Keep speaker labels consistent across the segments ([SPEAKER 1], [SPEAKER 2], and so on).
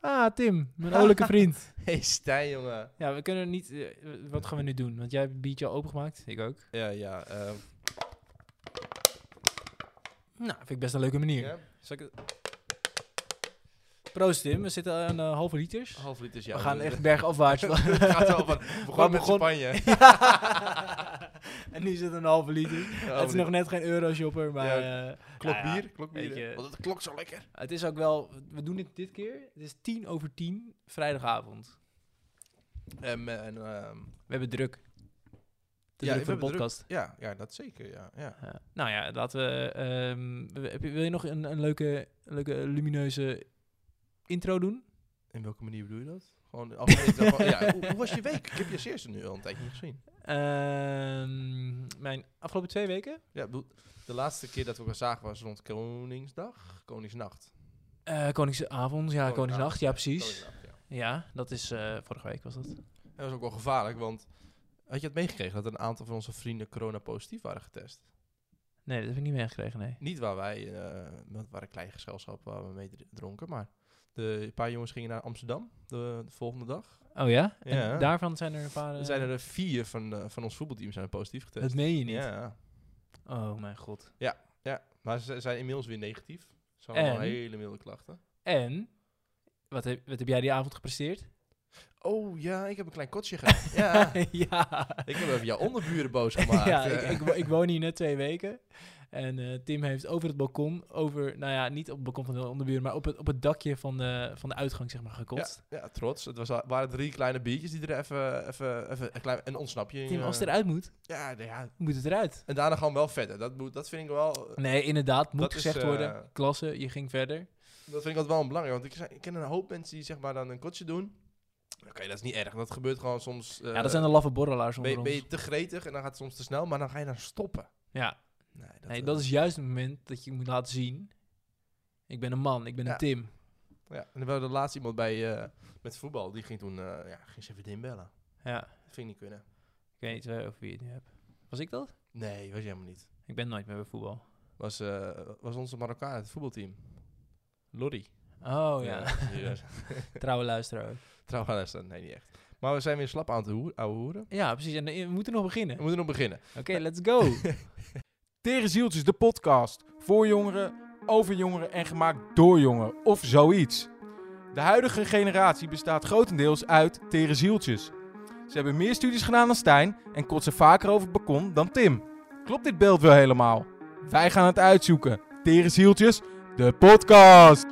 [SPEAKER 1] Ja, Ah, Tim, mijn olijke vriend.
[SPEAKER 2] hey, Stijn, jongen.
[SPEAKER 1] Ja, we kunnen niet... eh, wat gaan we nu doen? Want jij hebt het biertje al opengemaakt, ik ook.
[SPEAKER 2] Ja, ja. eh,
[SPEAKER 1] Nou, vind ik best een leuke manier.
[SPEAKER 2] ja. Zal ik het?
[SPEAKER 1] Proost Tim, we zitten aan eh, halve liters.
[SPEAKER 2] Half liters, ja.
[SPEAKER 1] we gaan echt bergafwaarts.
[SPEAKER 2] Het gaat wel van. We begonnen met
[SPEAKER 1] begon-
[SPEAKER 2] Spanje.
[SPEAKER 1] en nu zit een halve liter. het is nog net geen euroshopper, maar...
[SPEAKER 2] Ja,
[SPEAKER 1] eh, nou ja,
[SPEAKER 2] Klokbier, klokbier.
[SPEAKER 1] weet je.
[SPEAKER 2] Want het klokt zo lekker.
[SPEAKER 1] Het is ook wel... We doen dit dit keer. Het is tien over tien, vrijdagavond.
[SPEAKER 2] Ehm, en, ehm,
[SPEAKER 1] We hebben druk. Te
[SPEAKER 2] Ja,
[SPEAKER 1] druk voor
[SPEAKER 2] we
[SPEAKER 1] de
[SPEAKER 2] hebben druk.
[SPEAKER 1] podcast.
[SPEAKER 2] ja, ja, dat zeker, ja. ja.
[SPEAKER 1] Ja. nou ja, laten we... ehm, we- heb je- wil je nog een, een leuke, leuke lumineuze intro doen?
[SPEAKER 2] In welke manier bedoel je dat? Gewoon algemeen. dat- ja, hoe, hoe was je week? Ik heb je eerste nu al een tijdje niet gezien.
[SPEAKER 1] Ehm, mijn afgelopen twee weken?
[SPEAKER 2] Ja, ik bedoel, de laatste keer dat we elkaar zagen was rond Koningsdag, Koningsnacht.
[SPEAKER 1] Eh, Koningsavond, ja, Koningsnacht, ja precies.
[SPEAKER 2] Koningsnacht, ja.
[SPEAKER 1] Ja, dat is eh, vorige week was dat.
[SPEAKER 2] En dat was ook wel gevaarlijk, want had je het meegekregen dat een aantal van onze vrienden corona positief waren getest?
[SPEAKER 1] Nee, dat heb ik niet meegekregen, nee.
[SPEAKER 2] Niet waar wij, eh dat waren een klein gezelschap waar we mee dr- dronken, maar de een paar jongens gingen naar Amsterdam de, de volgende dag.
[SPEAKER 1] Oh ja? En
[SPEAKER 2] Ja.
[SPEAKER 1] daarvan zijn er een paar... eh,
[SPEAKER 2] Er zijn er vier van, eh, van ons voetbalteam zijn positief getest.
[SPEAKER 1] Dat meen je niet.
[SPEAKER 2] Ja,
[SPEAKER 1] Oh mijn god.
[SPEAKER 2] ja, maar ze zijn inmiddels weer negatief. Ze hadden
[SPEAKER 1] En?
[SPEAKER 2] allemaal hele milde klachten.
[SPEAKER 1] En, wat heb, wat heb jij die avond gepresteerd?
[SPEAKER 2] Oh ja, ik heb een klein kotje gehad. ja,
[SPEAKER 1] ja.
[SPEAKER 2] ik heb even jouw onderburen boos gemaakt.
[SPEAKER 1] ja,
[SPEAKER 2] eh.
[SPEAKER 1] ik, ik, wo- ik woon hier net twee weken. En eh, Tim heeft over het balkon, over, nou ja, niet op het balkon van de onderbuur, maar op het, op het dakje van de, van de uitgang, zeg maar, gekotst.
[SPEAKER 2] Ja, ja, trots. Het was, al- waren drie kleine biertjes die er even, even, even een, klein, een ontsnapje in.
[SPEAKER 1] Tim, als het
[SPEAKER 2] eh,
[SPEAKER 1] eruit moet,
[SPEAKER 2] ja, nou ja,
[SPEAKER 1] moet het eruit.
[SPEAKER 2] en daarna gewoon wel verder. Dat, moet, dat vind ik wel. eh,
[SPEAKER 1] Nee, inderdaad, moet
[SPEAKER 2] Dat is,
[SPEAKER 1] gezegd
[SPEAKER 2] eh,
[SPEAKER 1] worden. Klasse, je ging verder.
[SPEAKER 2] Dat vind ik altijd wel belangrijk. Want ik, zei- ik ken een hoop mensen die zeg maar dan een kotje doen. Oké, dat is niet erg. Dat gebeurt gewoon soms. eh,
[SPEAKER 1] ja, dat zijn de laffe borrelaars
[SPEAKER 2] ben,
[SPEAKER 1] onder
[SPEAKER 2] je- ben
[SPEAKER 1] ons.
[SPEAKER 2] je te gretig en dan gaat het soms te snel, maar dan ga je dan stoppen.
[SPEAKER 1] Ja,
[SPEAKER 2] Nee, dat,
[SPEAKER 1] nee,
[SPEAKER 2] eh,
[SPEAKER 1] dat is juist het moment dat je moet laten zien. Ik ben een man, ik ben
[SPEAKER 2] Ja.
[SPEAKER 1] een Tim.
[SPEAKER 2] Ja, en er was laatst iemand bij eh, met voetbal. Die ging toen eh, ja, ging ze even inbellen.
[SPEAKER 1] Ja,
[SPEAKER 2] Dat vind ik niet kunnen.
[SPEAKER 1] ik weet niet eh, over wie je het nu hebt. Was ik dat?
[SPEAKER 2] Nee, was je helemaal niet.
[SPEAKER 1] Ik ben nooit meer bij voetbal.
[SPEAKER 2] Was, eh, was onze Marokkaan het voetbalteam. Lorry.
[SPEAKER 1] Oh ja,
[SPEAKER 2] die was-
[SPEAKER 1] trouwe luisteraar ook.
[SPEAKER 2] Trouwens, dat nee, niet echt. Maar we zijn weer slap aan het hoer, ouwe hoeren.
[SPEAKER 1] Ja, precies. En eh, we moeten nog beginnen.
[SPEAKER 2] We moeten nog beginnen.
[SPEAKER 1] Oké, let's go.
[SPEAKER 3] Tere Zieltjes, de podcast. Voor jongeren, over jongeren en gemaakt door jongeren. Of zoiets. De huidige generatie bestaat grotendeels uit Tere Zieltjes. Ze hebben meer studies gedaan dan Stijn en kotsen vaker over het balkon dan Tim. Klopt dit beeld wel helemaal? Wij gaan het uitzoeken. Tere Zieltjes, de podcast.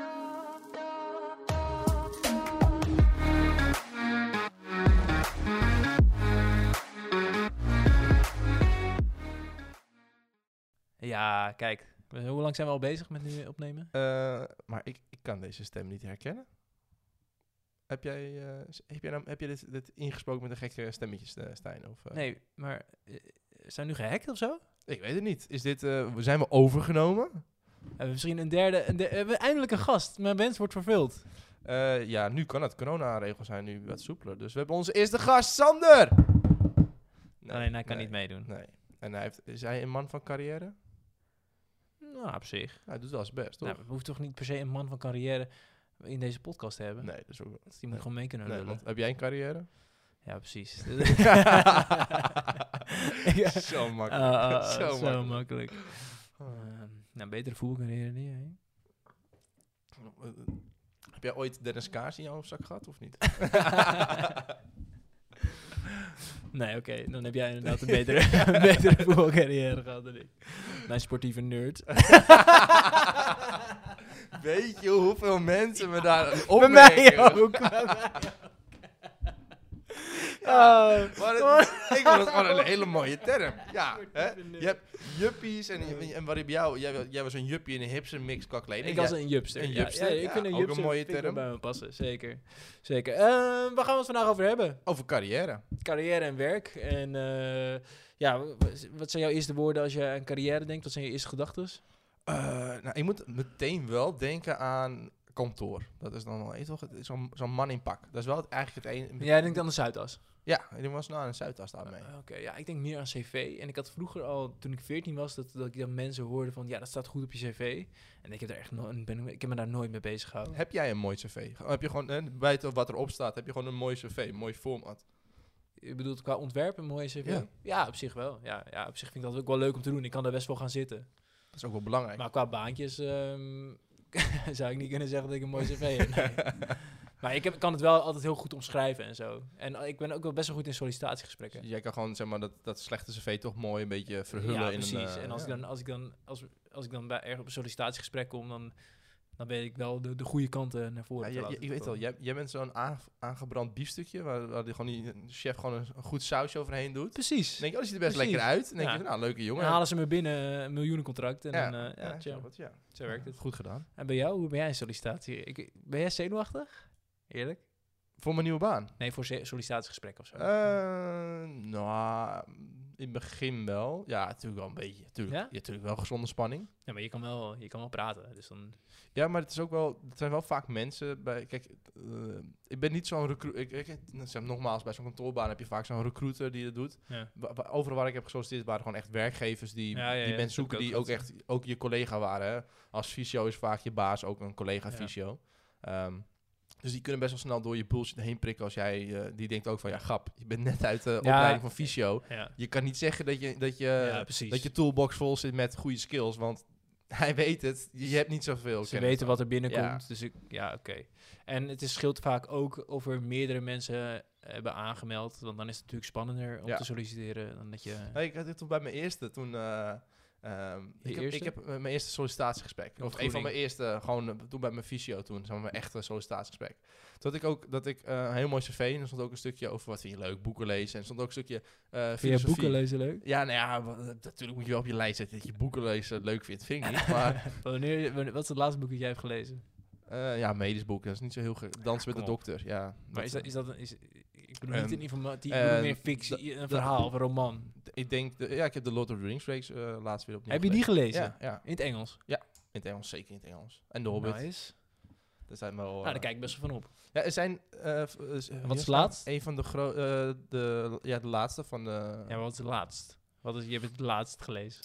[SPEAKER 1] ja, kijk. We- Hoe lang zijn we al bezig met nu opnemen?
[SPEAKER 2] Eh, maar ik, ik kan deze stem niet herkennen. Heb jij, eh, s- heb jij, nou- heb jij dit, dit ingesproken met een gekke stemmetjes, eh, Stijn? Of, eh?
[SPEAKER 1] Nee, maar eh, zijn we nu gehackt of zo?
[SPEAKER 2] Ik weet het niet. Is dit, eh, zijn we overgenomen?
[SPEAKER 1] Hebben we misschien een derde... Een de- hebben we eindelijk een gast. Mijn wens wordt vervuld.
[SPEAKER 2] Eh, ja, nu kan het. Corona-regels zijn nu wat soepeler. Dus we hebben onze eerste gast, Sander!
[SPEAKER 1] Alleen hij kan niet meedoen.
[SPEAKER 2] Nee. En hij heeft, is hij een man van carrière?
[SPEAKER 1] Nou, op zich.
[SPEAKER 2] Hij doet wel zijn best, toch?
[SPEAKER 1] Nou, we hoeven toch niet per se een man van carrière in deze podcast te hebben?
[SPEAKER 2] nee, dat is ook wel.
[SPEAKER 1] Die moet gewoon mee kunnen
[SPEAKER 2] Nee,
[SPEAKER 1] lullen.
[SPEAKER 2] want heb jij een carrière?
[SPEAKER 1] Ja, precies. Ja.
[SPEAKER 2] zo makkelijk.
[SPEAKER 1] Ah, ah,
[SPEAKER 2] Zo
[SPEAKER 1] zo,
[SPEAKER 2] makkelijk.
[SPEAKER 1] makkelijk. Ehm, nou, betere voetbalcarrière niet, hè?
[SPEAKER 2] Heb jij ooit Dennis Kaars in jouw zak gehad of niet?
[SPEAKER 1] Nee, oké. Dan heb jij inderdaad een betere, een betere voetbalcarrière gehad dan ik. Mijn sportieve nerd.
[SPEAKER 2] Weet je hoeveel mensen me daar
[SPEAKER 1] Bij
[SPEAKER 2] opmerken?
[SPEAKER 1] mij ook. Bij mij ook. Oh.
[SPEAKER 2] Maar het- ik vond het gewoon een hele mooie term. Ja, hè?
[SPEAKER 1] Sportieve nerd.
[SPEAKER 2] Je hebt juppies en, en wat heb jou... Jij, wa- jij was een juppie in een hipse mix qua kleding.
[SPEAKER 1] Ik was
[SPEAKER 2] Jij-
[SPEAKER 1] een jupster.
[SPEAKER 2] een
[SPEAKER 1] ja.
[SPEAKER 2] jupster,
[SPEAKER 1] Ja, ik
[SPEAKER 2] ja,
[SPEAKER 1] vind een
[SPEAKER 2] ook
[SPEAKER 1] jupster
[SPEAKER 2] een mooie
[SPEAKER 1] vind ik wel
[SPEAKER 2] term.
[SPEAKER 1] bij me passen. Zeker. Zeker. Ehm, waar gaan we het vandaag over hebben?
[SPEAKER 2] Over carrière.
[SPEAKER 1] Carrière en werk. En eh, ja, w- w- wat zijn jouw eerste woorden als je aan carrière denkt? Wat zijn je eerste gedachten?
[SPEAKER 2] Eh, nou, ik moet meteen wel denken aan kantoor. Dat is dan wel eh, toch, het is zo'n zo'n man in pak. Dat is wel het, eigenlijk het enige.
[SPEAKER 1] Jij denkt aan de Zuidas?
[SPEAKER 2] Ja, die was nou een Zuidas daarmee.
[SPEAKER 1] Oké, ja, ik denk meer aan cv. En ik had vroeger al, toen ik 14 was, dat, dat ik dan mensen hoorde van... Ja, dat staat goed op je cv. En ik heb, daar echt no ben, ik heb me daar nooit mee bezig gehouden.
[SPEAKER 2] Heb jij een mooi cv? Heb je gewoon, eh, buiten wat erop staat, heb je gewoon een mooi cv, een mooi format?
[SPEAKER 1] Je bedoelt qua ontwerp een mooie cv?
[SPEAKER 2] Ja.
[SPEAKER 1] Ja, op zich wel. Ja, ja, op zich vind ik dat ook wel leuk om te doen. Ik kan daar best wel gaan zitten.
[SPEAKER 2] Dat is ook wel belangrijk.
[SPEAKER 1] Maar qua baantjes ehm, zou ik niet kunnen zeggen dat ik een mooi cv heb. nee. Maar ik heb, kan het wel altijd heel goed omschrijven en zo. En eh, ik ben ook wel best wel goed in sollicitatiegesprekken.
[SPEAKER 2] Dus jij kan gewoon zeg maar, dat, dat slechte cv toch mooi een beetje verhullen.
[SPEAKER 1] ja,
[SPEAKER 2] in
[SPEAKER 1] precies.
[SPEAKER 2] Een, eh,
[SPEAKER 1] en als
[SPEAKER 2] ja.
[SPEAKER 1] ik dan, als ik dan, als, als ik dan bij erg op een sollicitatiegesprek kom, dan, dan weet ik wel de, de goede kanten naar voren.
[SPEAKER 2] Ja,
[SPEAKER 1] te
[SPEAKER 2] jij-
[SPEAKER 1] laten
[SPEAKER 2] jij- ik weet wel,
[SPEAKER 1] komen.
[SPEAKER 2] jij, jij bent zo'n aange- aangebrand biefstukje waar, waar die, gewoon die de chef gewoon een, een goed sausje overheen doet.
[SPEAKER 1] Precies.
[SPEAKER 2] Dan denk je, oh, dat ziet er best
[SPEAKER 1] Precies.
[SPEAKER 2] lekker uit. Dan denk
[SPEAKER 1] Ja.
[SPEAKER 2] je, nou, leuke
[SPEAKER 1] Dan
[SPEAKER 2] jongen.
[SPEAKER 1] halen ze me binnen eh, een miljoenencontract. En
[SPEAKER 2] Ja,
[SPEAKER 1] dan, eh, ja,
[SPEAKER 2] ja,
[SPEAKER 1] chill.
[SPEAKER 2] snap het, ja.
[SPEAKER 1] Zo werkt het.
[SPEAKER 2] Goed gedaan.
[SPEAKER 1] En bij jou, hoe ben jij in sollicitatie? Ik, ben jij zenuwachtig? Eerlijk?
[SPEAKER 2] Voor mijn nieuwe baan?
[SPEAKER 1] Nee, voor ze- sollicitatiegesprek of zo.
[SPEAKER 2] Eh, nou, in het begin wel. Ja, natuurlijk wel een beetje. Tuurlijk,
[SPEAKER 1] Ja?
[SPEAKER 2] ja? natuurlijk wel gezonde spanning.
[SPEAKER 1] Ja, maar je kan wel, je kan wel praten. Dus dan,
[SPEAKER 2] Ja, maar het is ook wel, het zijn wel vaak mensen bij. Kijk, eh, ik ben niet zo'n recruiter. Ik, ik, nou, zeg, nogmaals, bij zo'n kantoorbaan heb je vaak zo'n recruiter die dat doet.
[SPEAKER 1] ja.
[SPEAKER 2] Wa- wa- overal waar ik heb gesolliciteerd waren gewoon echt werkgevers die,
[SPEAKER 1] Ja, ja, ja,
[SPEAKER 2] die
[SPEAKER 1] dat
[SPEAKER 2] mensen
[SPEAKER 1] heb ik
[SPEAKER 2] zoeken die
[SPEAKER 1] ook
[SPEAKER 2] ook echt ook je collega waren. Hè? Als fysio is vaak je baas ook een collega
[SPEAKER 1] Ja.
[SPEAKER 2] fysio. Ehm, dus die kunnen best wel snel door je bullshit heen prikken als jij eh, die denkt ook van ja grap, je bent net uit de opleiding van fysio.
[SPEAKER 1] Ja.
[SPEAKER 2] Je kan niet zeggen dat je dat je
[SPEAKER 1] ja, precies.
[SPEAKER 2] Eh, dat je toolbox vol zit met goede skills, want hij weet het. Je hebt niet zoveel.
[SPEAKER 1] Ze
[SPEAKER 2] kennis
[SPEAKER 1] weten
[SPEAKER 2] dan.
[SPEAKER 1] wat er binnenkomt,
[SPEAKER 2] Ja.
[SPEAKER 1] dus ik, ja, oké. En het is, scheelt vaak ook of er meerdere mensen eh, hebben aangemeld, want dan is het natuurlijk spannender om
[SPEAKER 2] Ja.
[SPEAKER 1] te solliciteren dan dat je...
[SPEAKER 2] Nee, ik had dit toen bij mijn eerste. Toen, eh, ehm,
[SPEAKER 1] Je
[SPEAKER 2] ik, heb,
[SPEAKER 1] eerste?
[SPEAKER 2] ik heb eh, mijn eerste sollicitatiegesprek. Of een
[SPEAKER 1] Ontgroening.
[SPEAKER 2] van mijn eerste, gewoon eh, toen bij mijn fysio toen, zeg maar, mijn echte sollicitatiegesprek. Toen had ik ook, dat ik eh, een heel mooi cv en er stond ook een stukje over wat vind je leuk, boeken lezen. En er stond ook een stukje eh
[SPEAKER 1] Vind je
[SPEAKER 2] filosofie.
[SPEAKER 1] boeken lezen leuk?
[SPEAKER 2] Ja, nou ja, wa- eh, natuurlijk moet je wel op je lijst zetten dat je boeken lezen leuk vindt, vind ik niet. Maar
[SPEAKER 1] Wanneer, je- wanneer- wat is het laatste boek dat jij hebt gelezen?
[SPEAKER 2] eh, ja, medisch boeken, dat is niet zo heel... ge- Dans met
[SPEAKER 1] kom
[SPEAKER 2] de
[SPEAKER 1] op.
[SPEAKER 2] dokter, ja.
[SPEAKER 1] Maar is dat,
[SPEAKER 2] eh,
[SPEAKER 1] is dat een, is, ik bedoel niet
[SPEAKER 2] Ehm,
[SPEAKER 1] een informatie,
[SPEAKER 2] eh,
[SPEAKER 1] meer fictie, een verhaal of een roman.
[SPEAKER 2] Ik denk, de- ja, ik heb de Lord of the Rings reeks eh, laatst weer opnieuw
[SPEAKER 1] Heb je die gelezen?
[SPEAKER 2] Ja, ja,
[SPEAKER 1] In het Engels?
[SPEAKER 2] in het Engels, zeker in het Engels. En de Hobbit,
[SPEAKER 1] Nice.
[SPEAKER 2] dat zijn wel...
[SPEAKER 1] Nou, daar
[SPEAKER 2] eh,
[SPEAKER 1] kijk ik best wel van op.
[SPEAKER 2] Ja, er zijn... eh, v- eh, s- wie
[SPEAKER 1] is
[SPEAKER 2] het
[SPEAKER 1] laatst?
[SPEAKER 2] Een van de gro eh, de, ja, de laatste van de...
[SPEAKER 1] Ja, maar wat is het laatst? Wat is, je hebt het laatst gelezen.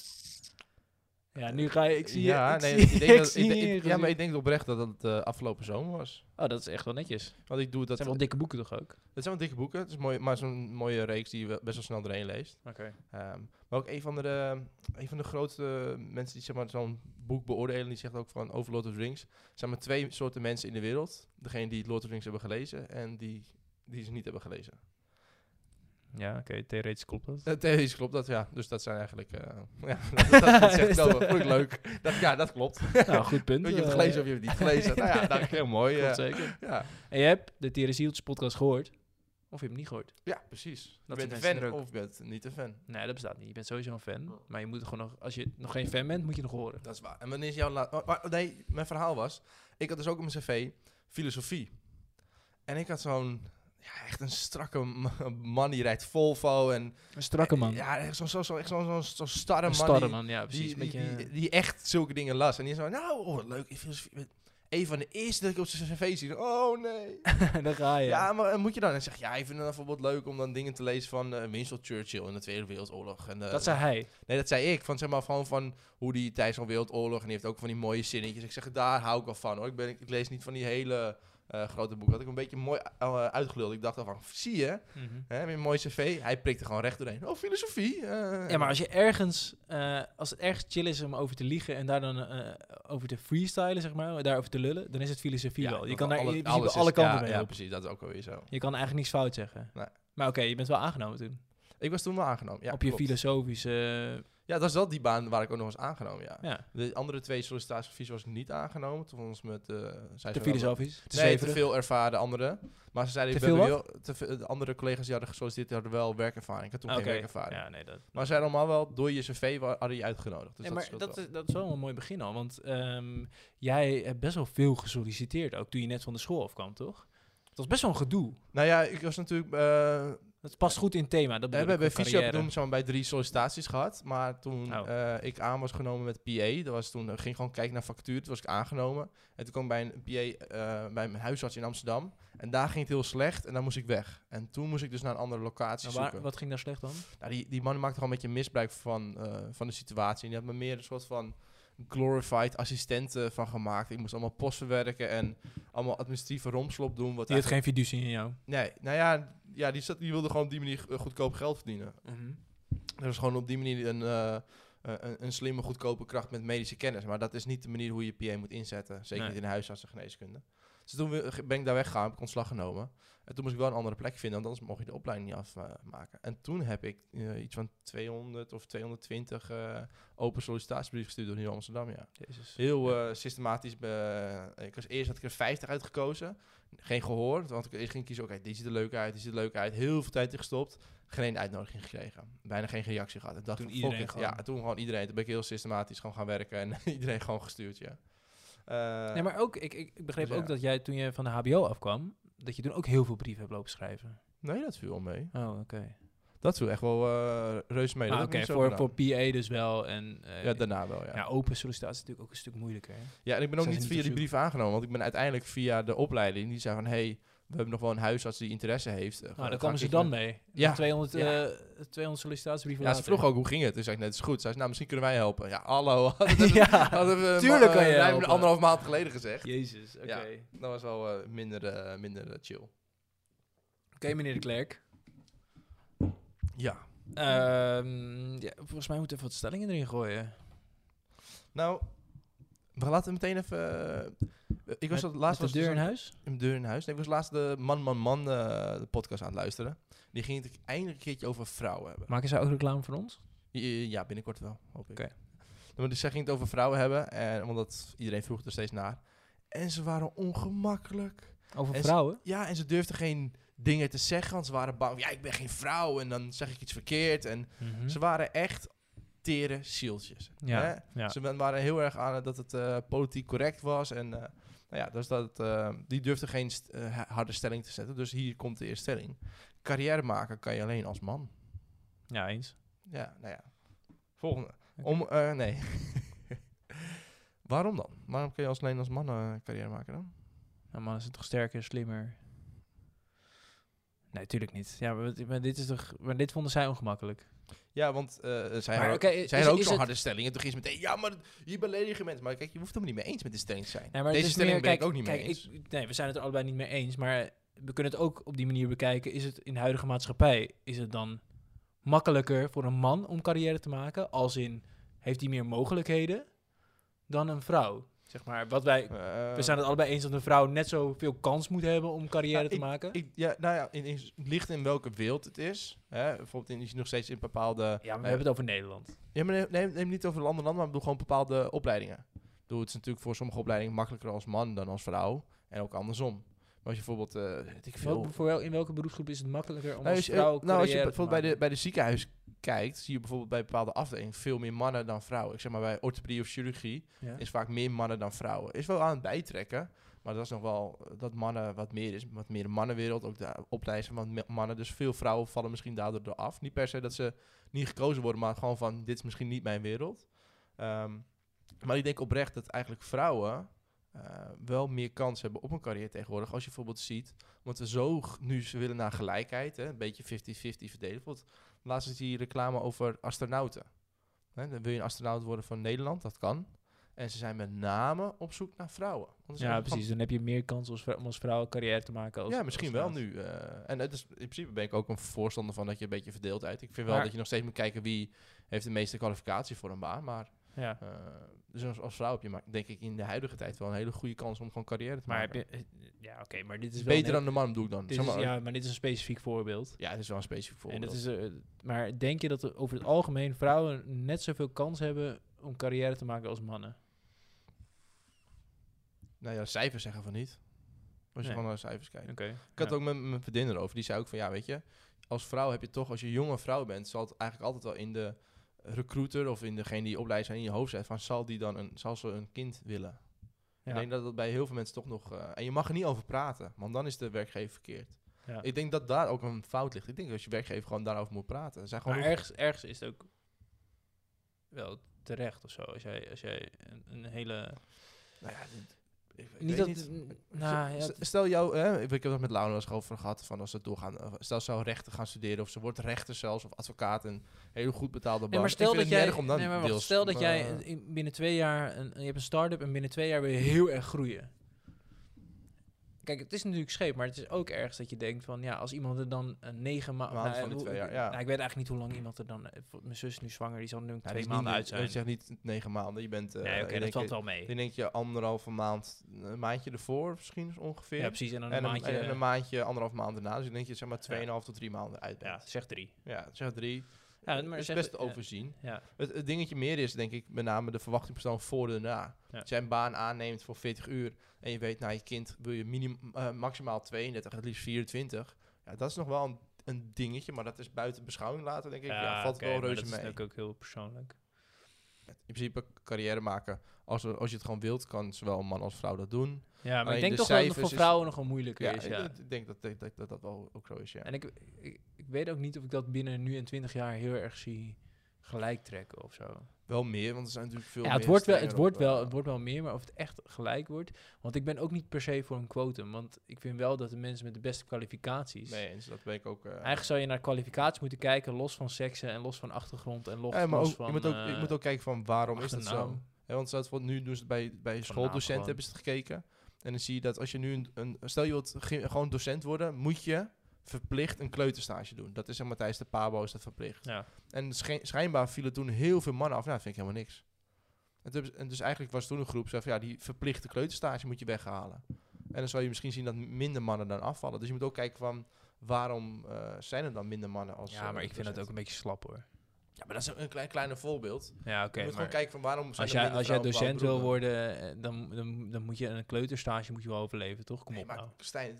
[SPEAKER 1] Ja, nu ga je, ik zie
[SPEAKER 2] Eh, ja,
[SPEAKER 1] je, ik
[SPEAKER 2] nee,
[SPEAKER 1] zie,
[SPEAKER 2] ik denk
[SPEAKER 1] ik
[SPEAKER 2] dat,
[SPEAKER 1] zie
[SPEAKER 2] ik,
[SPEAKER 1] je
[SPEAKER 2] denk- ik- ja,
[SPEAKER 1] gezicht.
[SPEAKER 2] maar ik denk oprecht dat het eh, afgelopen zomer was.
[SPEAKER 1] Oh, dat is echt wel netjes.
[SPEAKER 2] Want ik doe dat...
[SPEAKER 1] Dat zijn wel dikke boeken toch ook?
[SPEAKER 2] Het zijn wel dikke boeken, het is mooi, maar zo'n mooie reeks die je wel- best wel snel doorheen leest.
[SPEAKER 1] Oké.
[SPEAKER 2] Ehm, maar ook een van, de, een van de grootste mensen die zeg maar, zo'n boek beoordelen, die zegt ook van over Lord of the Rings. Er zijn maar twee soorten mensen in de wereld. Degene die Lord of the Rings hebben gelezen en die, die ze niet hebben gelezen.
[SPEAKER 1] Ja, oké, theoretisch klopt dat.
[SPEAKER 2] Eh, Theoretisch klopt dat, ja. Dus dat zijn eigenlijk... eh, ja, dat, dat, dat zegt wel, vond ik leuk. Dat, ja, dat klopt.
[SPEAKER 1] nou, goed punt.
[SPEAKER 2] je hebt het
[SPEAKER 1] eh,
[SPEAKER 2] gelezen of je hebt het niet gelezen. nou ja, dat is heel mooi.
[SPEAKER 1] klopt
[SPEAKER 2] eh,
[SPEAKER 1] zeker.
[SPEAKER 2] ja.
[SPEAKER 1] En je hebt de Theresieltjes podcast gehoord, of je hebt hem niet gehoord.
[SPEAKER 2] ja, precies.
[SPEAKER 1] Dat
[SPEAKER 2] je
[SPEAKER 1] is
[SPEAKER 2] bent
[SPEAKER 1] mijn
[SPEAKER 2] een fan
[SPEAKER 1] indruk.
[SPEAKER 2] of je bent niet een fan.
[SPEAKER 1] Nee, dat bestaat niet. Je bent sowieso een fan, maar je moet gewoon nog, als je nog geen fan bent, moet je nog horen.
[SPEAKER 2] Dat is waar. En wanneer is jouw laat? maar- maar- nee, mijn verhaal was... Ik had dus ook op mijn cv filosofie. En ik had zo'n... Ja, echt een strakke ma- man die rijdt Volvo. En,
[SPEAKER 1] Een strakke man.
[SPEAKER 2] Eh, Ja, echt zo'n zo, zo, echt zo'n zo'n zo'n starre
[SPEAKER 1] een
[SPEAKER 2] man.
[SPEAKER 1] starre
[SPEAKER 2] die-
[SPEAKER 1] man, ja,
[SPEAKER 2] Die,
[SPEAKER 1] precies.
[SPEAKER 2] die,
[SPEAKER 1] een beetje,
[SPEAKER 2] die- die echt zulke dingen las. En die zo... Nou, oh, wat leuk. in Filosofie. Een van de eerste dat ik op zijn cv zie. Oh, nee.
[SPEAKER 1] daar ga je.
[SPEAKER 2] Ja, maar eh, moet je dan? En zeg ja, ik vind het bijvoorbeeld leuk om dan dingen te lezen van eh, Winston Churchill in de Tweede Wereldoorlog. En, eh,
[SPEAKER 1] dat zei hij.
[SPEAKER 2] Nee, dat zei ik. Van zeg maar gewoon van hoe die tijdens zo'n wereldoorlog. En die heeft ook van die mooie zinnetjes. Ik zeg, daar hou ik wel van hoor. Ik, ben, ik lees niet van die hele eh, grote boeken. Had ik een beetje mooi eh, uitgeluld. Ik dacht al van, zie je, hè, met een mooi cv. Hij prikt er gewoon recht doorheen. Oh, filosofie. eh.
[SPEAKER 1] Ja, maar als je ergens, eh, als het ergens chill is om over te liegen en daar dan eh, over te freestylen, zeg maar, daarover te lullen, dan is het filosofie
[SPEAKER 2] Ja,
[SPEAKER 1] wel. Je
[SPEAKER 2] want
[SPEAKER 1] kan daar
[SPEAKER 2] alle-
[SPEAKER 1] in principe
[SPEAKER 2] alles is-
[SPEAKER 1] alle kanten
[SPEAKER 2] ja,
[SPEAKER 1] mee
[SPEAKER 2] Ja,
[SPEAKER 1] op.
[SPEAKER 2] precies. Dat is ook wel weer zo.
[SPEAKER 1] Je kan eigenlijk niks fout zeggen.
[SPEAKER 2] Nee.
[SPEAKER 1] Maar oké, je bent wel aangenomen toen.
[SPEAKER 2] Ik was toen wel aangenomen. Ja,
[SPEAKER 1] op je
[SPEAKER 2] klopt.
[SPEAKER 1] filosofische... eh,
[SPEAKER 2] Ja, dat is wel die baan waar ik ook nog was aangenomen, ja.
[SPEAKER 1] ja,
[SPEAKER 2] De andere twee sollicitaties was ik niet aangenomen. Toen was met... eh zei
[SPEAKER 1] te
[SPEAKER 2] ze wel-
[SPEAKER 1] filosofisch. Te
[SPEAKER 2] nee,
[SPEAKER 1] zweverig.
[SPEAKER 2] te veel ervaren anderen. Maar ze zeiden,
[SPEAKER 1] Te
[SPEAKER 2] ik ben
[SPEAKER 1] veel
[SPEAKER 2] wel- te veel- de andere collega's die hadden gesolliciteerd, die hadden wel werkervaring. Ik had toen
[SPEAKER 1] Ah, Oké.
[SPEAKER 2] geen werkervaring.
[SPEAKER 1] Ja, nee, dat...
[SPEAKER 2] Maar ze zeiden allemaal wel, door je cv wa- hadden je uitgenodigd. Dus
[SPEAKER 1] Nee,
[SPEAKER 2] dat
[SPEAKER 1] maar
[SPEAKER 2] scheelt
[SPEAKER 1] dat
[SPEAKER 2] wel.
[SPEAKER 1] is, dat is wel een mooi begin al, want ehm, jij hebt best wel veel gesolliciteerd, ook toen je net van de school afkwam, toch? Dat is best wel een gedoe.
[SPEAKER 2] Nou ja, ik was natuurlijk... eh,
[SPEAKER 1] Dat past goed in het thema. Dat
[SPEAKER 2] we
[SPEAKER 1] bedoel
[SPEAKER 2] hebben
[SPEAKER 1] ik,
[SPEAKER 2] bij
[SPEAKER 1] qua
[SPEAKER 2] Fysio op
[SPEAKER 1] carrière.
[SPEAKER 2] Doem zo'n bij drie sollicitaties gehad. Maar toen
[SPEAKER 1] Oh.
[SPEAKER 2] eh, ik aan was genomen met PA, dat was toen, eh, ging gewoon kijken naar factuur, toen was ik aangenomen. En toen kwam ik bij een PA, eh, bij mijn huisarts in Amsterdam. En daar ging het heel slecht en daar moest ik weg. En toen moest ik dus naar een andere locatie
[SPEAKER 1] Nou,
[SPEAKER 2] zoeken.
[SPEAKER 1] waar, wat ging daar slecht dan?
[SPEAKER 2] Nou, die, die man maakte gewoon een beetje misbruik van, eh, van de situatie. En die had me meer een soort van glorified assistenten van gemaakt. Ik moest allemaal post verwerken en allemaal administratieve romslop doen. Wat
[SPEAKER 1] Die had
[SPEAKER 2] eigenlijk-
[SPEAKER 1] geen fiducie in jou.
[SPEAKER 2] Nee, nou ja, ja die, zat, die wilde gewoon op die manier eh, goedkoop geld verdienen.
[SPEAKER 1] Mhm.
[SPEAKER 2] Er was gewoon op die manier een, eh, eh, een, een slimme, goedkope kracht met medische kennis. Maar dat is niet de manier hoe je PA moet inzetten. Zeker
[SPEAKER 1] Nee.
[SPEAKER 2] niet in de huisarts en geneeskunde. Dus toen we- ben ik daar weggegaan, heb ik ontslag genomen. En toen moest ik wel een andere plek vinden, want anders mocht je de opleiding niet afmaken. En toen heb ik eh, iets van 200 of 220 eh, open sollicitatiebrief gestuurd door Nieuw Amsterdam, ja.
[SPEAKER 1] Jezus.
[SPEAKER 2] Heel eh, systematisch. be- ik was eerst had ik er 50 uitgekozen. Geen gehoor, want ik eerst ging kiezen, oké, die ziet er leuk uit, die ziet er leuk uit. Heel veel tijd in gestopt. Geen ene uitnodiging gekregen. Bijna geen reactie gehad. Ik dacht,
[SPEAKER 1] Toen
[SPEAKER 2] van,
[SPEAKER 1] iedereen
[SPEAKER 2] fuck it.
[SPEAKER 1] gewoon.
[SPEAKER 2] Ja, toen gewoon iedereen. Toen ben ik heel systematisch gewoon gaan werken en iedereen gewoon gestuurd, ja. Eh,
[SPEAKER 1] Nee, maar ook, ik, ik, ik begreep
[SPEAKER 2] Dus ja.
[SPEAKER 1] ook dat jij toen je van de HBO afkwam, dat je toen ook heel veel brieven hebt lopen schrijven.
[SPEAKER 2] Nee, dat viel wel mee.
[SPEAKER 1] Oh, oké.
[SPEAKER 2] Dat viel echt wel eh reuze mee.
[SPEAKER 1] Maar
[SPEAKER 2] Dat
[SPEAKER 1] Ah, oké,
[SPEAKER 2] heb ik niet zo
[SPEAKER 1] voor,
[SPEAKER 2] gedaan.
[SPEAKER 1] voor PA dus wel. En, eh,
[SPEAKER 2] Ja, daarna wel, ja.
[SPEAKER 1] ja, Nou, open sollicitatie is natuurlijk ook een stuk moeilijker. hè?
[SPEAKER 2] Ja, en ik ben ook
[SPEAKER 1] Zijn
[SPEAKER 2] niet
[SPEAKER 1] ze
[SPEAKER 2] via
[SPEAKER 1] niet
[SPEAKER 2] die
[SPEAKER 1] op
[SPEAKER 2] brief aangenomen, want ik ben uiteindelijk via de opleiding, die zei van, hey, we hebben nog wel een huisarts die interesse heeft. Eh, ga-
[SPEAKER 1] Nou,
[SPEAKER 2] ga
[SPEAKER 1] daar kwamen
[SPEAKER 2] ik
[SPEAKER 1] ze
[SPEAKER 2] even-
[SPEAKER 1] dan mee.
[SPEAKER 2] Ja.
[SPEAKER 1] Ja. 200, eh
[SPEAKER 2] Ja.
[SPEAKER 1] 200 sollicitatiebrieven
[SPEAKER 2] Ja, ze
[SPEAKER 1] later.
[SPEAKER 2] vroeg ook hoe ging het. Toen zei ik, net is goed. Ze zei, nou, misschien kunnen wij helpen. Ja, hallo.
[SPEAKER 1] Ja, tuurlijk kan je
[SPEAKER 2] eh, Ruim
[SPEAKER 1] helpen.
[SPEAKER 2] anderhalf maand geleden gezegd.
[SPEAKER 1] Jezus, oké.
[SPEAKER 2] Ja. Dat was wel eh, minder, eh, minder eh, chill.
[SPEAKER 1] Oké, meneer de Klerk.
[SPEAKER 2] Ja.
[SPEAKER 1] Ehm, ja, volgens mij moeten we even wat stellingen erin gooien.
[SPEAKER 2] Nou, we laten meteen even... eh, ik was
[SPEAKER 1] Met-
[SPEAKER 2] dat laatst...
[SPEAKER 1] Met
[SPEAKER 2] was
[SPEAKER 1] de
[SPEAKER 2] ik
[SPEAKER 1] deur
[SPEAKER 2] dus
[SPEAKER 1] in huis?
[SPEAKER 2] aan- een deur in huis. Nee, ik was laatst de Man Man Man eh, de podcast aan het luisteren. Die ging het eindelijk een keertje over vrouwen hebben.
[SPEAKER 1] Maken zij ook reclame voor ons?
[SPEAKER 2] I- Ja, binnenkort wel, hoop ik.
[SPEAKER 1] Oké.
[SPEAKER 2] Maar dus zij ging het over vrouwen hebben, en, omdat iedereen vroeg er steeds naar. En ze waren ongemakkelijk.
[SPEAKER 1] Over
[SPEAKER 2] En ze-
[SPEAKER 1] vrouwen?
[SPEAKER 2] Ja, en ze durfden geen dingen te zeggen, want ze waren bang. Ja, ik ben geen vrouw en dan zeg ik iets verkeerd. En
[SPEAKER 1] Mhm.
[SPEAKER 2] ze waren echt tere zieltjes. hè?
[SPEAKER 1] Ja, ja.
[SPEAKER 2] Ze wa- waren heel erg aan het dat het eh, politiek correct was. En eh, nou ja, dus dat, eh, die durfden geen st- eh, ha- harde stelling te zetten. Dus hier komt de eerste stelling. Carrière maken kan je alleen als man.
[SPEAKER 1] ja, eens.
[SPEAKER 2] Ja, nou ja. Volgende. Om, eh, nee. Waarom dan? Waarom kun je als alleen als man eh, carrière maken dan?
[SPEAKER 1] Nou, man is het toch sterker, slimmer? Nee, tuurlijk niet. Ja, maar, wat- maar dit, is toch, maar dit vonden zij ongemakkelijk.
[SPEAKER 2] Ja, want eh zij
[SPEAKER 1] Maar
[SPEAKER 2] had-
[SPEAKER 1] oké, is-
[SPEAKER 2] zij had ook
[SPEAKER 1] is
[SPEAKER 2] zo'n
[SPEAKER 1] het-
[SPEAKER 2] harde stelling. En toen ging ze meteen, ja, maar je beledigen mensen. Maar kijk, je hoeft het helemaal niet mee eens met de stelling te zijn.
[SPEAKER 1] Nee, maar het
[SPEAKER 2] Deze
[SPEAKER 1] is
[SPEAKER 2] stelling
[SPEAKER 1] meer,
[SPEAKER 2] ben
[SPEAKER 1] kijk,
[SPEAKER 2] ik ook niet mee
[SPEAKER 1] kijk,
[SPEAKER 2] eens.
[SPEAKER 1] ik- nee, we zijn het er allebei niet mee eens. Maar we kunnen het ook op die manier bekijken. Is het in de huidige maatschappij, is het dan makkelijker voor een man om carrière te maken? Als in, heeft hij meer mogelijkheden dan een vrouw? Zeg maar, wat wij...
[SPEAKER 2] Eh,
[SPEAKER 1] We zijn het allebei eens dat een vrouw net zoveel kans moet hebben om carrière
[SPEAKER 2] Ja,
[SPEAKER 1] te maken.
[SPEAKER 2] ik, ja, nou ja, in, in, het ligt in welke wereld het is. Hè? Bijvoorbeeld in, is nog steeds in bepaalde...
[SPEAKER 1] ja, maar we
[SPEAKER 2] eh,
[SPEAKER 1] hebben het over Nederland.
[SPEAKER 2] ja, maar neem, neem, neem niet over landen, landen, maar bedoel gewoon bepaalde opleidingen. Doe het is natuurlijk voor sommige opleidingen makkelijker als man dan als vrouw. En ook andersom. Maar als je bijvoorbeeld... eh, weet ik veel,
[SPEAKER 1] Wat, voor wel, in welke beroepsgroep is het makkelijker om
[SPEAKER 2] Nou,
[SPEAKER 1] als
[SPEAKER 2] als je,
[SPEAKER 1] vrouw
[SPEAKER 2] nou, als je
[SPEAKER 1] carrière te
[SPEAKER 2] bijvoorbeeld bij de,
[SPEAKER 1] maken?
[SPEAKER 2] bij de ziekenhuis kijkt, zie je bijvoorbeeld bij bepaalde afdelingen veel meer mannen dan vrouwen. Ik zeg maar bij orthopedie of chirurgie
[SPEAKER 1] Ja.
[SPEAKER 2] is vaak meer mannen dan vrouwen. Is wel aan het bijtrekken, maar dat is nog wel eh, dat mannen wat meer is, wat meer een mannenwereld. Ook de opleiding van me- mannen, dus veel vrouwen vallen misschien daardoor er af. Niet per se dat ze niet gekozen worden, maar gewoon van dit is misschien niet mijn wereld. Ehm, maar ik denk oprecht dat eigenlijk vrouwen eh, wel meer kans hebben op een carrière tegenwoordig. Als je bijvoorbeeld ziet, want we zo g- nu ze willen naar gelijkheid, hè, een beetje 50-50 verdelen. Bijvoorbeeld, laatst is die reclame over astronauten. Hè, dan wil je een astronaut worden van Nederland, dat kan. En ze zijn met name op zoek naar vrouwen. Want er zijn
[SPEAKER 1] Ja,
[SPEAKER 2] gewoon-
[SPEAKER 1] precies. Dan heb je meer kans als vrou- om als vrouw carrière te maken. Als,
[SPEAKER 2] ja,
[SPEAKER 1] als
[SPEAKER 2] misschien wel
[SPEAKER 1] vrouw.
[SPEAKER 2] nu. eh, en het is, in principe ben ik ook een voorstander van dat je een beetje verdeeld uit. Ik vind wel
[SPEAKER 1] Maar-
[SPEAKER 2] dat je nog steeds moet kijken wie heeft de meeste kwalificatie voor een baan. Maar
[SPEAKER 1] Ja.
[SPEAKER 2] eh, dus als, als vrouw heb je, maar, denk ik, in de huidige tijd wel een hele goede kans om gewoon carrière te
[SPEAKER 1] Maar heb
[SPEAKER 2] maken.
[SPEAKER 1] je... eh, Ja, oké, maar dit is wel...
[SPEAKER 2] Beter
[SPEAKER 1] een-
[SPEAKER 2] dan de man, doe ik dan.
[SPEAKER 1] Dit
[SPEAKER 2] Zeg
[SPEAKER 1] is,
[SPEAKER 2] maar, ja.
[SPEAKER 1] ja, maar dit is een specifiek voorbeeld.
[SPEAKER 2] het is wel een specifiek
[SPEAKER 1] En
[SPEAKER 2] voorbeeld.
[SPEAKER 1] dat is, eh, maar denk je dat er over het algemeen vrouwen net zoveel kans hebben om carrière te maken als mannen?
[SPEAKER 2] Nou ja, cijfers zeggen van niet. Als je
[SPEAKER 1] Nee.
[SPEAKER 2] gewoon naar de cijfers kijkt.
[SPEAKER 1] Oké.
[SPEAKER 2] Ik had ook met mijn vriendin erover. Die zei ook van, ja, weet je, als vrouw heb je toch, als je jonge vrouw bent, zal het eigenlijk altijd wel in de recruiter of in degene die opleidt zijn in je hoofd zet van, zal die dan een, zal ze een kind willen?
[SPEAKER 1] Ja.
[SPEAKER 2] Ik denk dat dat bij heel veel mensen toch nog... eh, en je mag er niet over praten, want dan is de werkgever verkeerd.
[SPEAKER 1] Ja.
[SPEAKER 2] Ik denk dat daar ook een fout ligt. Ik denk dat je werkgever gewoon daarover moet praten. Er Zijn gewoon
[SPEAKER 1] Maar
[SPEAKER 2] nog-
[SPEAKER 1] ergens, ergens is het ook wel terecht of zo. Als jij, als jij een, een hele...
[SPEAKER 2] Nou ja, dit- ik, ik
[SPEAKER 1] Niet
[SPEAKER 2] weet
[SPEAKER 1] dat...
[SPEAKER 2] niet.
[SPEAKER 1] n- Nou, ja,
[SPEAKER 2] S- Stel jou, hè, ik heb het met Laura wel eens over gehad, van als ze doorgaan, eh, stel ze zou rechten gaan studeren, of ze wordt rechter zelfs, of advocaat, en heel goed betaalde baan.
[SPEAKER 1] Nee, maar
[SPEAKER 2] Ik
[SPEAKER 1] stel
[SPEAKER 2] vind
[SPEAKER 1] dat
[SPEAKER 2] het niet
[SPEAKER 1] jij,
[SPEAKER 2] erg om dan
[SPEAKER 1] nee, maar wacht,
[SPEAKER 2] deels-
[SPEAKER 1] stel dat jij
[SPEAKER 2] eh,
[SPEAKER 1] een- in- binnen twee jaar, een, je hebt een start-up en binnen twee jaar wil je heel erg groeien. Kijk, het is natuurlijk scheep, maar het is ook ergens dat je denkt van, ja, als iemand er dan eh, negen ma-
[SPEAKER 2] Maanden van die
[SPEAKER 1] hoe-
[SPEAKER 2] twee jaar, ja.
[SPEAKER 1] nou, ik weet eigenlijk niet hoe lang iemand er dan, eh, voor- mijn zus is nu zwanger, die zal nu een
[SPEAKER 2] ja, dat
[SPEAKER 1] twee
[SPEAKER 2] is
[SPEAKER 1] maanden
[SPEAKER 2] niet-
[SPEAKER 1] uit zijn.
[SPEAKER 2] Je zegt niet negen maanden, je bent... eh,
[SPEAKER 1] nee, oké,
[SPEAKER 2] ik
[SPEAKER 1] dat
[SPEAKER 2] denk-
[SPEAKER 1] valt wel mee.
[SPEAKER 2] Ik denk je anderhalve maand, een maandje ervoor misschien ongeveer.
[SPEAKER 1] Ja, precies, en dan een
[SPEAKER 2] en,
[SPEAKER 1] maandje,
[SPEAKER 2] en een maandje, anderhalf maand daarna. Dus ik denk je zeg maar 2,5 tot 3 maanden uit
[SPEAKER 1] ja,
[SPEAKER 2] bent.
[SPEAKER 1] zeg drie.
[SPEAKER 2] Ja, zeg drie.
[SPEAKER 1] Ja,
[SPEAKER 2] Ja,
[SPEAKER 1] maar
[SPEAKER 2] maar is
[SPEAKER 1] zeg-
[SPEAKER 2] best te
[SPEAKER 1] ja.
[SPEAKER 2] overzien.
[SPEAKER 1] Ja,
[SPEAKER 2] Het, het dingetje meer is, denk ik, met name de verwachting persoon voor en na.
[SPEAKER 1] Ja.
[SPEAKER 2] Als jij een baan aanneemt voor 40 uur en je weet, nou, je kind wil je minim, eh, maximaal 32, het liefst 24. Ja, dat is nog wel een, een dingetje, maar dat is buiten beschouwing laten, denk ik. Ja, valt
[SPEAKER 1] oké,
[SPEAKER 2] wel
[SPEAKER 1] maar
[SPEAKER 2] reuze
[SPEAKER 1] dat is
[SPEAKER 2] mee.
[SPEAKER 1] natuurlijk ook heel persoonlijk.
[SPEAKER 2] In principe carrière maken, als, we- als je het gewoon wilt, kan zowel man als vrouw dat doen.
[SPEAKER 1] Ja, maar
[SPEAKER 2] Alleen
[SPEAKER 1] ik denk
[SPEAKER 2] de
[SPEAKER 1] toch wel dat het
[SPEAKER 2] cijfers
[SPEAKER 1] voor
[SPEAKER 2] is-
[SPEAKER 1] vrouwen nog wel moeilijker
[SPEAKER 2] Ja,
[SPEAKER 1] is,
[SPEAKER 2] ik-
[SPEAKER 1] ja.
[SPEAKER 2] Ik, denk dat, dat, dat dat wel ook zo is, ja.
[SPEAKER 1] En ik, ik, ik weet ook niet of ik dat binnen nu en 20 jaar heel erg zie gelijk trekken of zo.
[SPEAKER 2] Wel meer, want er zijn natuurlijk veel
[SPEAKER 1] ja, het
[SPEAKER 2] meer
[SPEAKER 1] wordt, wel, het,
[SPEAKER 2] sterren
[SPEAKER 1] wordt
[SPEAKER 2] op,
[SPEAKER 1] wel,
[SPEAKER 2] eh,
[SPEAKER 1] het wordt wel meer, maar of het echt gelijk wordt. Want ik ben ook niet per se voor een quotum. Want ik vind wel dat de mensen met de beste kwalificaties.
[SPEAKER 2] Nee, eens, dat ben ik ook... eh,
[SPEAKER 1] Eigenlijk zou je naar kwalificaties moeten kijken, los van seksen en los van achtergrond en los,
[SPEAKER 2] ja, maar
[SPEAKER 1] los
[SPEAKER 2] ook,
[SPEAKER 1] van.
[SPEAKER 2] je, moet ook, je
[SPEAKER 1] eh,
[SPEAKER 2] moet ook kijken van waarom is dat
[SPEAKER 1] achternaam.
[SPEAKER 2] zo? Hè, want zelfs wat nu doen ze het bij, bij
[SPEAKER 1] gewoon.
[SPEAKER 2] schooldocenten hebben ze het gekeken. En dan zie je dat als je nu een, een stel je wilt ge- gewoon docent worden, moet je verplicht een kleuterstage doen. Dat is zeg maar tijdens de Pabo is dat verplicht.
[SPEAKER 1] Ja.
[SPEAKER 2] En schijn- schijnbaar vielen toen heel veel mannen af. Nou, dat vind ik helemaal niks. En, toen hebben ze- en dus eigenlijk was toen een groep zei van ja, die verplichte kleuterstage moet je weghalen. En dan zal je misschien zien dat minder mannen dan afvallen. Dus je moet ook kijken van waarom eh, zijn er dan minder mannen als
[SPEAKER 1] ja, maar
[SPEAKER 2] eh,
[SPEAKER 1] ik vind dat ook
[SPEAKER 2] docent?
[SPEAKER 1] een beetje slap hoor.
[SPEAKER 2] Ja, maar dat is een klein, kleine voorbeeld.
[SPEAKER 1] Ja, oké.
[SPEAKER 2] je moet
[SPEAKER 1] maar
[SPEAKER 2] gewoon kijken van waarom zijn
[SPEAKER 1] als
[SPEAKER 2] er
[SPEAKER 1] jij,
[SPEAKER 2] minder
[SPEAKER 1] als jij
[SPEAKER 2] vrouwen op
[SPEAKER 1] docent wil
[SPEAKER 2] bepaalde beroepen?
[SPEAKER 1] worden, eh, dan, dan, dan moet je een kleuterstage moet je wel overleven, toch? Kom
[SPEAKER 2] Nee,
[SPEAKER 1] op
[SPEAKER 2] maar
[SPEAKER 1] nou.
[SPEAKER 2] Stijn,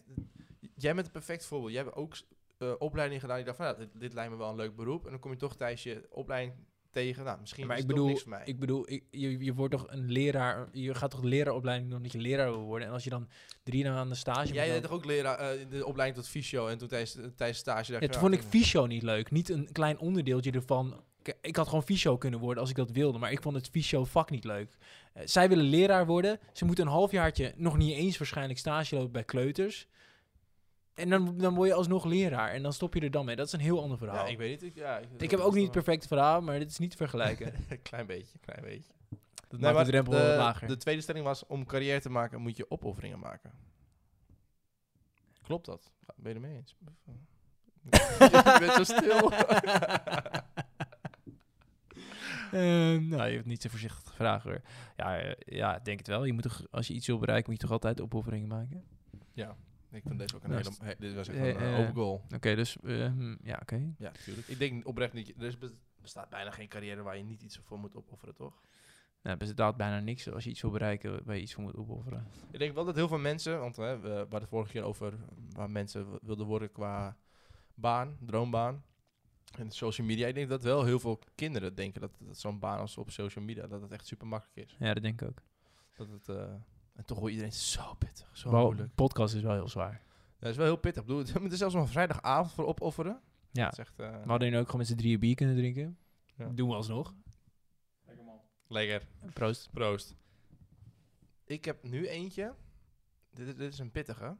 [SPEAKER 2] jij bent een perfect voorbeeld. Jij hebt ook eh, opleiding gedaan. Ik dacht van, nou, dit, dit lijkt me wel een leuk beroep. En dan kom je toch tijdens je opleiding tegen. Nou, misschien
[SPEAKER 1] Maar
[SPEAKER 2] is
[SPEAKER 1] ik
[SPEAKER 2] het toch
[SPEAKER 1] bedoel,
[SPEAKER 2] niks voor mij.
[SPEAKER 1] ik bedoel ik, je, je wordt toch een leraar, je gaat toch de leraaropleiding doen omdat je leraar wil worden. En als je dan drie maanden stage moet
[SPEAKER 2] jij
[SPEAKER 1] lopen-
[SPEAKER 2] deed toch ook leraar eh, de opleiding tot fysio en toen tijdens, tijdens stage dacht
[SPEAKER 1] Ja,
[SPEAKER 2] je,
[SPEAKER 1] toen
[SPEAKER 2] nou,
[SPEAKER 1] vond ik fysio niet leuk. Niet een klein onderdeeltje ervan. K- Ik had gewoon fysio kunnen worden als ik dat wilde. Maar ik vond het fysio vak niet leuk. Eh, zij willen leraar worden. Ze moeten een halfjaartje nog niet eens waarschijnlijk stage lopen bij kleuters. En dan, dan word je alsnog leraar. En dan stop je er dan mee. Dat is een heel ander
[SPEAKER 2] ja,
[SPEAKER 1] verhaal.
[SPEAKER 2] ik
[SPEAKER 1] ik,
[SPEAKER 2] weet niet. Ik, ja, ik,
[SPEAKER 1] heb ook niet het perfecte verhaal, maar dit is niet te vergelijken.
[SPEAKER 2] klein beetje, klein beetje.
[SPEAKER 1] Dat
[SPEAKER 2] Nee,
[SPEAKER 1] maakt de
[SPEAKER 2] maar
[SPEAKER 1] drempel wat lager.
[SPEAKER 2] de tweede stelling was, om carrière te maken moet je opofferingen maken. Klopt dat? Ben je er mee eens? je bent zo stil.
[SPEAKER 1] Ehm, nou, je hebt niet zo voorzichtig gevraagd hoor. Ja, eh, ja, ik denk het wel. Je moet toch, als je iets wil bereiken, moet je toch altijd opofferingen maken?
[SPEAKER 2] Ja, ik vind deze ook een
[SPEAKER 1] Ja,
[SPEAKER 2] hele...
[SPEAKER 1] st-
[SPEAKER 2] he- dit was echt
[SPEAKER 1] eh,
[SPEAKER 2] een eh,
[SPEAKER 1] eh,
[SPEAKER 2] open goal.
[SPEAKER 1] Oké, dus ehm, ja, oké.
[SPEAKER 2] Ja, natuurlijk. Ik denk oprecht niet... Er is bes- bestaat bijna geen carrière waar je niet iets voor moet opofferen, toch?
[SPEAKER 1] Nou, er bestaat bijna niks als je iets wil bereiken waar je iets voor moet opofferen.
[SPEAKER 2] Ik denk wel dat heel veel mensen... Want hè, we hadden het vorige keer over waar mensen w- wilden worden qua baan, droombaan. En social media. Ik denk dat wel heel veel kinderen denken dat, dat zo'n baan als op social media... dat het echt super makkelijk is.
[SPEAKER 1] Ja, dat denk ik ook.
[SPEAKER 2] Dat het... eh, en toch hoor iedereen zo pittig, zo
[SPEAKER 1] Wel,
[SPEAKER 2] moeilijk.
[SPEAKER 1] podcast is wel heel zwaar.
[SPEAKER 2] Dat is wel heel pittig. Ik bedoel, je moet er zelfs nog een vrijdagavond voor opofferen.
[SPEAKER 1] Ja,
[SPEAKER 2] Dat is echt... eh,
[SPEAKER 1] we hadden nu ook gewoon met z'n drieën bier kunnen drinken.
[SPEAKER 2] Ja.
[SPEAKER 1] Doen we alsnog.
[SPEAKER 2] lekker.
[SPEAKER 1] Proost.
[SPEAKER 2] Proost. Ik heb nu eentje. Dit, dit is een pittige.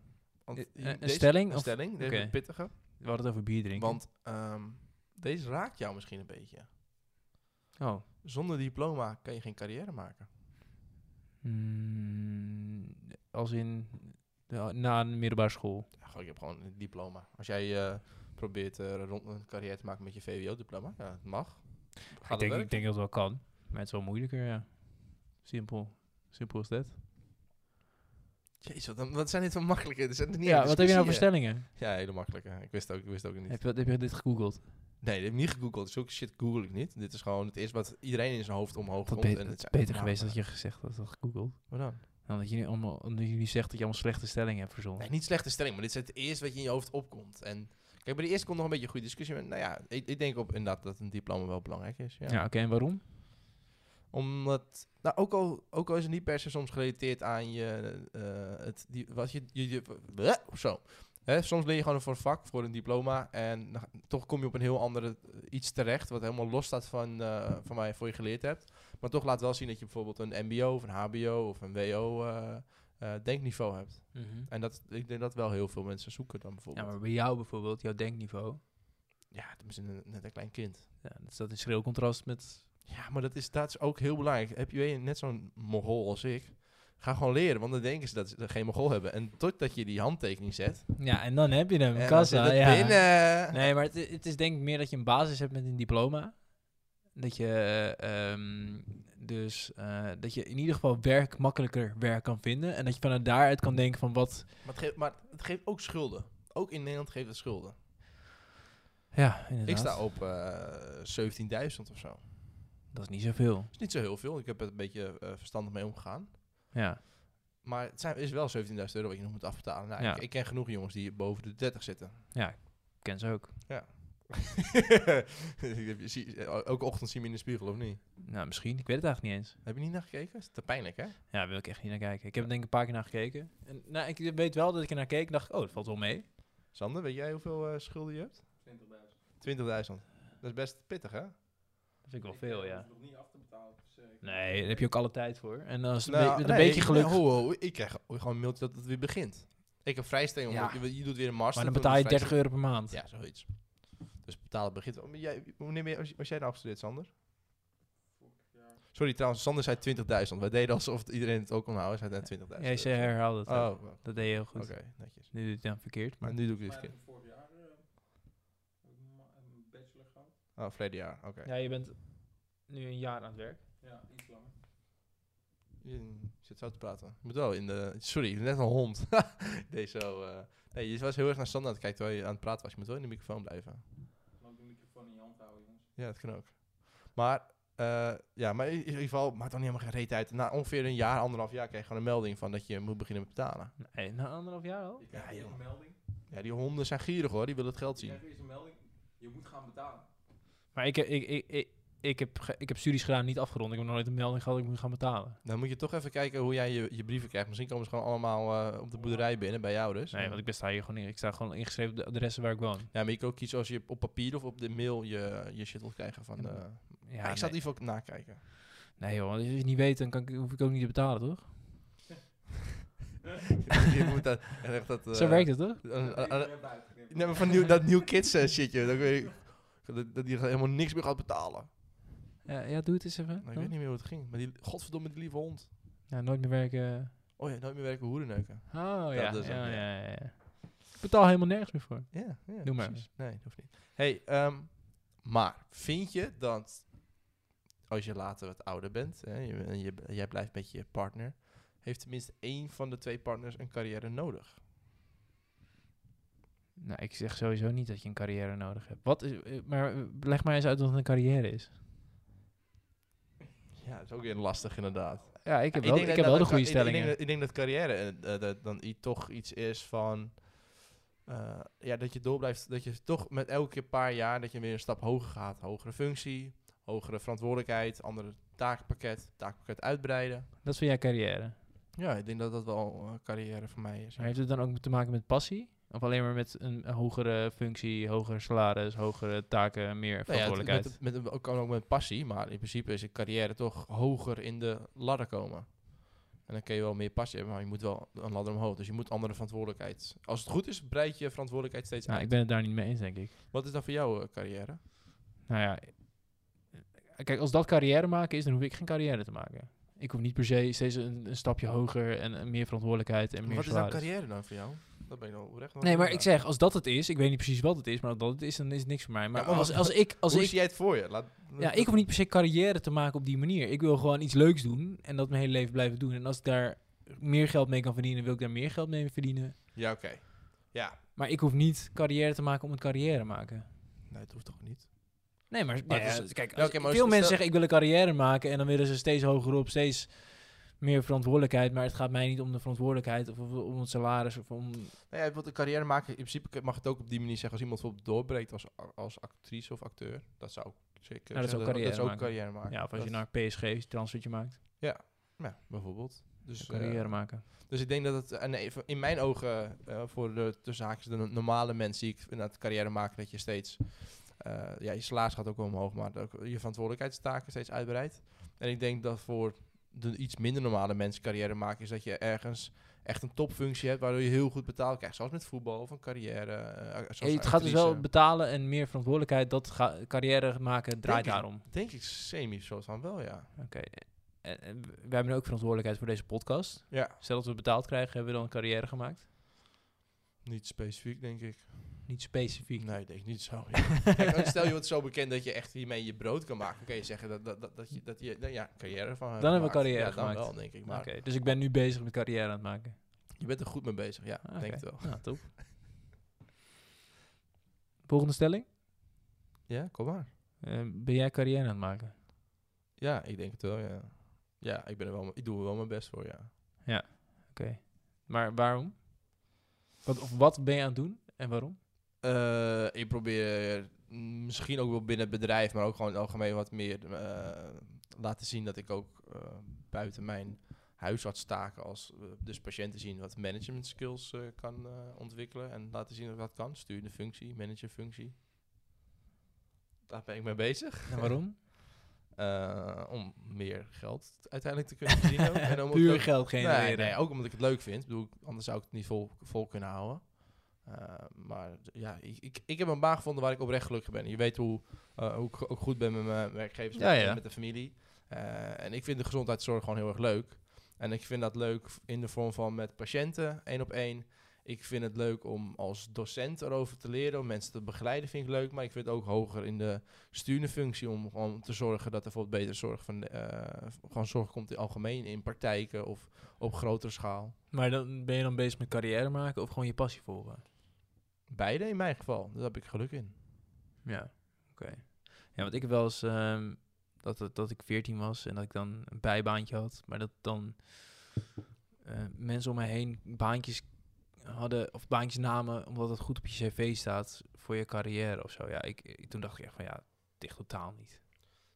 [SPEAKER 2] Want
[SPEAKER 1] Eh,
[SPEAKER 2] hier-
[SPEAKER 1] een stelling
[SPEAKER 2] Een
[SPEAKER 1] of-
[SPEAKER 2] stelling. Dit is
[SPEAKER 1] Oké.
[SPEAKER 2] een pittige.
[SPEAKER 1] We hadden het over bier drinken.
[SPEAKER 2] Want ehm, deze raakt jou misschien een beetje.
[SPEAKER 1] Oh.
[SPEAKER 2] Zonder diploma kan je geen carrière maken.
[SPEAKER 1] Mm, als in... ja, Na een middelbare school.
[SPEAKER 2] Ja, gewoon, je hebt gewoon een diploma. Als jij eh, probeert eh, rond een carrière te maken met je VWO-diploma, ja, dat mag. Gaat
[SPEAKER 1] Ik denk,
[SPEAKER 2] het
[SPEAKER 1] ik denk dat het wel kan. Maar het is wel moeilijker, ja. Simpel. Simpel is dat.
[SPEAKER 2] Jezus, wat, een- wat zijn dit voor makkelijke? Er zijn er niet
[SPEAKER 1] ja,
[SPEAKER 2] eens
[SPEAKER 1] wat heb je nou voor
[SPEAKER 2] discussieën.
[SPEAKER 1] stellingen?
[SPEAKER 2] Ja, hele makkelijke. Ik wist het ook, ik wist het ook niet.
[SPEAKER 1] Heb je, heb je dit gegoogeld?
[SPEAKER 2] Nee, dit heb ik niet gegoogeld. Zulke shit google ik niet. Dit is gewoon het eerste wat iedereen in zijn hoofd
[SPEAKER 1] Het
[SPEAKER 2] omhoog komt.
[SPEAKER 1] be-
[SPEAKER 2] en
[SPEAKER 1] het
[SPEAKER 2] het
[SPEAKER 1] is
[SPEAKER 2] zijn
[SPEAKER 1] beter
[SPEAKER 2] namen.
[SPEAKER 1] geweest dat je gezegd had dat gegoogeld.
[SPEAKER 2] Wat dan?
[SPEAKER 1] Dan Nou, eh, dat je nu allemaal, omdat je nu zegt dat je allemaal slechte stellingen hebt verzonnen.
[SPEAKER 2] Nee, niet slechte stelling, maar dit is het eerste wat je in je hoofd opkomt. En kijk, bij de eerste komt nog een beetje een goede discussie. Maar nou ja, ik, ik denk op inderdaad dat een diploma wel belangrijk is. Ja.
[SPEAKER 1] Ja, oké, en waarom?
[SPEAKER 2] Omdat, nou, ook al, ook al is het niet per se soms gerelateerd aan je, eh, het, die, wat je, je, je bleh, zo. Hè, soms leer je gewoon voor een vak, voor een diploma en dan ga- toch kom je op een heel ander iets terecht, wat helemaal los staat van, eh, van waar je voor je geleerd hebt. Maar toch laat wel zien dat je bijvoorbeeld een mbo of een hbo of een wo eh, eh, denkniveau hebt.
[SPEAKER 1] Mhm.
[SPEAKER 2] En dat, ik denk dat wel heel veel mensen zoeken dan
[SPEAKER 1] Ja,
[SPEAKER 2] bijvoorbeeld. Ja,
[SPEAKER 1] maar bij jou bijvoorbeeld, jouw denkniveau.
[SPEAKER 2] het is een- net een klein kind.
[SPEAKER 1] Ja, dat staat in schril contrast met...
[SPEAKER 2] Ja, maar dat is, dat is ook heel belangrijk. Heb je weet je, net zo'n mogol als ik? Ga gewoon leren, want dan denken ze dat ze geen mogol hebben. En totdat je die handtekening zet.
[SPEAKER 1] Ja, en dan heb je hem,
[SPEAKER 2] en dan
[SPEAKER 1] kassa.
[SPEAKER 2] zit het
[SPEAKER 1] ja.
[SPEAKER 2] binnen.
[SPEAKER 1] Nee, maar het, het is denk ik meer dat je een basis hebt met een diploma. Dat je, eh, ehm, dus, eh, dat je in ieder geval werk makkelijker werk kan vinden. En dat je vanuit daaruit kan denken van wat...
[SPEAKER 2] Maar, het geeft, maar het geeft ook schulden. Ook in Nederland geeft het schulden.
[SPEAKER 1] Ja, inderdaad.
[SPEAKER 2] Ik sta op eh 17.000 of zo. Dat
[SPEAKER 1] Dat is niet zoveel.
[SPEAKER 2] is niet zo heel veel. Ik heb er een beetje eh, verstandig mee omgegaan.
[SPEAKER 1] Ja.
[SPEAKER 2] Maar het zijn, is wel 17.000 euro wat je nog moet afbetalen. Nou,
[SPEAKER 1] Ja.
[SPEAKER 2] ik, ik ken genoeg jongens die boven de 30 zitten.
[SPEAKER 1] ja, ik ken ze ook.
[SPEAKER 2] Je ziet- eh, Elke ochtend zien we in de spiegel, of niet?
[SPEAKER 1] Nou, misschien. Ik weet het eigenlijk niet eens.
[SPEAKER 2] Heb je niet naar gekeken? Dat is te pijnlijk, hè?
[SPEAKER 1] Ja, daar wil ik echt niet naar kijken. Ik heb er denk ik een paar keer naar gekeken. En, nou, ik weet wel dat ik er naar keek en dacht ik, oh, dat valt wel mee.
[SPEAKER 2] Sander, weet jij hoeveel eh, schulden je hebt? 20.000. 20.000. Dat is best pittig, hè?
[SPEAKER 1] Dat vind ik wel veel, ja. Nee, daar heb je ook alle tijd voor. En als het
[SPEAKER 2] Nou,
[SPEAKER 1] een be- met
[SPEAKER 2] nee,
[SPEAKER 1] een beetje
[SPEAKER 2] ik-
[SPEAKER 1] geluk...
[SPEAKER 2] nee, ho, ho, ik krijg gewoon een mailtje dat het weer begint. Ik heb vrijstelling,
[SPEAKER 1] Ja.
[SPEAKER 2] omdat je, je doet weer een master.
[SPEAKER 1] maar dan
[SPEAKER 2] toen
[SPEAKER 1] betaal je
[SPEAKER 2] doe
[SPEAKER 1] 30 euro per maand.
[SPEAKER 2] vrijstelling. Ja, zoiets. Dus betalen begint. wel. Maar jij, wanneer ben je- was, was jij nou afgestudeerd, Sander? Sorry, trouwens, Sander zei 20.000. Wij deden alsof iedereen het ook kon houden. Hij zei net 20.000.
[SPEAKER 1] Ja, ze herhaalde het. ook.
[SPEAKER 2] Oh, oké,
[SPEAKER 1] Dat deed je heel goed.
[SPEAKER 2] netjes.
[SPEAKER 1] Nu doe je het dan verkeerd.
[SPEAKER 2] Maar
[SPEAKER 1] Maar
[SPEAKER 2] nu doe ik het weer verkeerd.
[SPEAKER 3] vorig jaar een bachelor gehad.
[SPEAKER 2] Oh, verleden jaar, oké.
[SPEAKER 1] ja, je bent nu een jaar aan het werk.
[SPEAKER 3] Ja, iets langer.
[SPEAKER 2] Je zit zo te praten. Je moet wel in de... Sorry, net een hond. Deze zo... eh, nee, je was heel erg naar Sander aan het kijken terwijl je aan het praten was. Je moet wel in de microfoon blijven.
[SPEAKER 3] Mag ik de microfoon in je hand houden, jongens?
[SPEAKER 2] Ja, dat kan ook. Maar... eh, ja, maar in in ieder geval maakt dan niet helemaal geen reet uit. Na ongeveer een jaar, anderhalf jaar, krijg je gewoon een melding van dat je moet beginnen met betalen.
[SPEAKER 1] Nee, na anderhalf jaar al?
[SPEAKER 3] Je krijgt eerst
[SPEAKER 2] joh.
[SPEAKER 3] een melding.
[SPEAKER 2] Ja, die honden zijn gierig hoor, die willen het geld
[SPEAKER 3] Je
[SPEAKER 2] zien.
[SPEAKER 3] krijgt eerst een melding. Je moet gaan betalen.
[SPEAKER 1] Maar ik, heb- ik, ik, ik, ik, heb, ge- ik heb studies gedaan, niet afgerond. Ik heb nog nooit een melding gehad dat ik moet gaan betalen.
[SPEAKER 2] Dan moet je toch even kijken hoe jij je, je brieven krijgt. Misschien komen ze gewoon allemaal eh, op de boerderij binnen bij jou dus.
[SPEAKER 1] Nee, want ik ben- sta hier gewoon in. Ik sta gewoon ingeschreven op de adressen waar ik woon.
[SPEAKER 2] Ja, maar je kan ook kiezen als je op papier of op de mail je, je shit wilt krijgen van...
[SPEAKER 1] Ja,
[SPEAKER 2] eh,
[SPEAKER 1] Ja,
[SPEAKER 2] ik
[SPEAKER 1] nee.
[SPEAKER 2] zal het even ook nakijken.
[SPEAKER 1] Nee joh, want als je het niet weet, dan kan ik, hoef ik ook niet te betalen, toch?
[SPEAKER 2] je moet dat, echt dat, eh,
[SPEAKER 1] Zo werkt het, toch?
[SPEAKER 2] een- een- een-
[SPEAKER 3] buiten.
[SPEAKER 2] nee, maar van nieuw, dat New Kids eh, shitje. Dat, weet ik, dat, dat die helemaal niks meer gaat betalen.
[SPEAKER 1] Ja, ja, doe het eens even.
[SPEAKER 2] Nou, ik
[SPEAKER 1] Huh?
[SPEAKER 2] weet niet meer hoe het ging. Maar die, godverdomme, die lieve hond.
[SPEAKER 1] Ja, nooit meer werken.
[SPEAKER 2] Oh ja, nooit meer werken hoerenneuken.
[SPEAKER 1] Oh ja.
[SPEAKER 2] dus ook,
[SPEAKER 1] ja,
[SPEAKER 2] ja.
[SPEAKER 1] ja, ja, ja. Ik betaal helemaal nergens meer voor.
[SPEAKER 2] Ja, ja
[SPEAKER 1] Doe maar
[SPEAKER 2] precies. Nee, dat hoeft niet. hey, ehm, maar vind je dat als je later wat ouder bent hè, je- en je, jij blijft met je partner, heeft tenminste één van de twee partners een carrière nodig?
[SPEAKER 1] Nou, ik zeg sowieso niet dat je een carrière nodig hebt. Wat is, eh, maar eh, leg maar eens uit wat een carrière is.
[SPEAKER 2] Ja, dat is ook weer lastig inderdaad.
[SPEAKER 1] Ja, ik heb
[SPEAKER 2] Ja,
[SPEAKER 1] wel,
[SPEAKER 2] denk
[SPEAKER 1] ik heb wel
[SPEAKER 2] dat- dat
[SPEAKER 1] de
[SPEAKER 2] een
[SPEAKER 1] goede
[SPEAKER 2] ka- ik-
[SPEAKER 1] stellingen.
[SPEAKER 2] Ik denk, dat- ik denk dat carrière eh, eh, dat dan i- toch iets is van... eh, ja, dat je door blijft... Dat je toch met elke paar jaar dat je weer een stap hoger gaat. Hogere functie, hogere verantwoordelijkheid, andere taakpakket, taakpakket uitbreiden.
[SPEAKER 1] Dat is voor jouw carrière.
[SPEAKER 2] Ja, ik denk dat dat wel eh, carrière voor mij is. Nou
[SPEAKER 1] Maar heeft het dan ook te maken met passie? Of alleen maar met een, een hogere functie, hoger salaris, hogere taken, meer
[SPEAKER 2] Nou ja, het-
[SPEAKER 1] verantwoordelijkheid?
[SPEAKER 2] met, met, ook- kan ook met passie, maar in principe is een carrière toch hoger in de ladder komen. En dan kun je wel meer passie hebben, maar je moet wel een ladder omhoog. Dus je moet andere verantwoordelijkheid. Als het goed is, breid je verantwoordelijkheid steeds
[SPEAKER 1] nou,
[SPEAKER 2] uit.
[SPEAKER 1] ik ben het daar niet mee eens, denk ik.
[SPEAKER 2] Wat is dan voor jou eh, carrière?
[SPEAKER 1] Nou ja, eh, kijk, als dat carrière maken is, dan hoef ik geen carrière te maken. Ik hoef niet per se steeds een, een stapje hoger en, eh, meer verantwoordelijkheid en meer
[SPEAKER 2] Wat is dan
[SPEAKER 1] salaris.
[SPEAKER 2] carrière dan voor jou? Dat ben je nou recht.
[SPEAKER 1] Nee, maar ik zeg, als dat het is, ik weet niet precies wat het is, maar als dat het is, dan is het niks voor mij. Maar,
[SPEAKER 2] Ja, maar
[SPEAKER 1] als,
[SPEAKER 2] wat-
[SPEAKER 1] als ik, als
[SPEAKER 2] Hoe
[SPEAKER 1] ik
[SPEAKER 2] zie jij het voor je? Laat,
[SPEAKER 1] Ja, ik hoef niet per se carrière te maken op die manier. Ik wil gewoon iets leuks doen en dat mijn hele leven blijven doen. En als ik daar meer geld mee kan verdienen, wil ik daar meer geld mee verdienen.
[SPEAKER 2] Ja, oké. Ja.
[SPEAKER 1] Maar ik hoef niet carrière te maken om een carrière te maken.
[SPEAKER 2] Nee, het hoeft toch niet?
[SPEAKER 1] Nee, maar,
[SPEAKER 2] Maar
[SPEAKER 1] ja,
[SPEAKER 2] het is-
[SPEAKER 1] kijk,
[SPEAKER 2] Ja,
[SPEAKER 1] als-
[SPEAKER 2] oké, maar
[SPEAKER 1] veel
[SPEAKER 2] stel-
[SPEAKER 1] mensen zeggen ik wil een carrière maken en dan willen ze steeds hoger op, steeds meer verantwoordelijkheid, maar het gaat mij niet om de verantwoordelijkheid of om het salaris of om...
[SPEAKER 2] Nee, hij wil een carrière maken. In principe mag het ook op die manier zeggen. Als iemand bijvoorbeeld doorbreekt als, als actrice of acteur. Dat zou ik zeker
[SPEAKER 1] Nou, dat is ook
[SPEAKER 2] zeggen.
[SPEAKER 1] carrière
[SPEAKER 2] dat is ook
[SPEAKER 1] maken.
[SPEAKER 2] carrière maken.
[SPEAKER 1] Ja, of als je
[SPEAKER 2] Dat-
[SPEAKER 1] naar PSG een transfertje maakt,
[SPEAKER 2] Ja, bijvoorbeeld. Dus, eh,
[SPEAKER 1] carrière maken.
[SPEAKER 2] dus ik denk dat het en even in mijn ogen eh, voor de tussen haakjes de no- normale mens die ik inderdaad carrière maken dat je steeds eh, ja je salaris gaat ook wel omhoog, maar ook je verantwoordelijkheidstaken steeds uitbreidt. En ik denk dat voor de iets minder normale mensen carrière maken is dat je ergens echt een topfunctie hebt waardoor je heel goed betaald krijgt, zoals met voetbal of een carrière. eh, zoals
[SPEAKER 1] het gaat dus
[SPEAKER 2] actrice.
[SPEAKER 1] wel betalen en meer verantwoordelijkheid, dat ga- carrière maken draait
[SPEAKER 2] Denk ik.
[SPEAKER 1] daarom.
[SPEAKER 2] Denk ik semi soort van wel ja.
[SPEAKER 1] Oké. En, en we- wij hebben ook verantwoordelijkheid voor deze podcast.
[SPEAKER 2] Ja,
[SPEAKER 1] Stel dat we betaald krijgen, hebben we dan een carrière gemaakt?
[SPEAKER 2] niet specifiek denk ik.
[SPEAKER 1] Niet specifiek.
[SPEAKER 2] Nee, denk ik niet zo. Kijk, en stel je wordt zo bekend dat je echt hiermee je brood kan maken. Kun je zeggen dat, dat, dat, dat je, dat je nou ja, carrière van hebt
[SPEAKER 1] Dan hebben we
[SPEAKER 2] gemaakt.
[SPEAKER 1] carrière
[SPEAKER 2] ja, dan
[SPEAKER 1] gemaakt.
[SPEAKER 2] wel, denk ik. Maar
[SPEAKER 1] Oké, dus ik ben nu bezig met carrière aan het maken.
[SPEAKER 2] je bent er goed mee bezig. Ja,
[SPEAKER 1] Oké.
[SPEAKER 2] denk het wel.
[SPEAKER 1] Nou, top. Volgende stelling.
[SPEAKER 2] Ja, kom maar.
[SPEAKER 1] Eh, ben jij carrière aan het maken?
[SPEAKER 2] Ja, ik denk het wel, ja. Ja, ik, ben er wel, ik doe er wel mijn best voor, ja.
[SPEAKER 1] Oké. Maar waarom? Wat, of wat ben je aan het doen en waarom?
[SPEAKER 2] Eh, ik probeer mm, misschien ook wel binnen het bedrijf, maar ook gewoon in het algemeen wat meer eh, laten zien dat ik ook eh, buiten mijn huisartstaken als eh, dus patiënten zien wat management skills eh, kan eh, ontwikkelen en laten zien dat ik dat kan. Stuurde functie, managerfunctie. Daar ben ik mee bezig.
[SPEAKER 1] En waarom?
[SPEAKER 2] Eh, om meer geld uiteindelijk te kunnen verdienen. ook. en om
[SPEAKER 1] Puur
[SPEAKER 2] ook-
[SPEAKER 1] geld genereren.
[SPEAKER 2] Nee, nee, ook omdat ik het leuk vind. Ik bedoel, anders zou ik het niet vol, vol kunnen houden. Eh, maar ja, ik, ik, ik heb een baan gevonden waar ik oprecht gelukkig ben. Je weet hoe, eh, hoe ik ook goed ben met mijn werkgevers
[SPEAKER 1] Ja,
[SPEAKER 2] met-
[SPEAKER 1] ja.
[SPEAKER 2] met de familie. Eh, en ik vind de gezondheidszorg gewoon heel erg leuk. En ik vind dat leuk in de vorm van met patiënten, één op één. Ik vind het leuk om als docent erover te leren, om mensen te begeleiden vind ik leuk. Maar ik vind het ook hoger in de sturende functie om gewoon te zorgen dat er bijvoorbeeld betere zorg van, eh, gewoon zorg komt in het algemeen in praktijken of op grotere schaal.
[SPEAKER 1] Maar dan ben je dan bezig met carrière maken of gewoon je passie volgen?
[SPEAKER 2] Beide in mijn geval. Daar heb ik geluk in.
[SPEAKER 1] Ja, oké. Ja, want ik heb wel eens ehm, dat, dat, dat ik 14 was en dat ik dan een bijbaantje had, maar dat dan eh, mensen om mij heen baantjes hadden of baantjes namen omdat het goed op je cv staat voor je carrière of zo. Ja, ik, ik- toen dacht ik echt van ja, dicht totaal niet.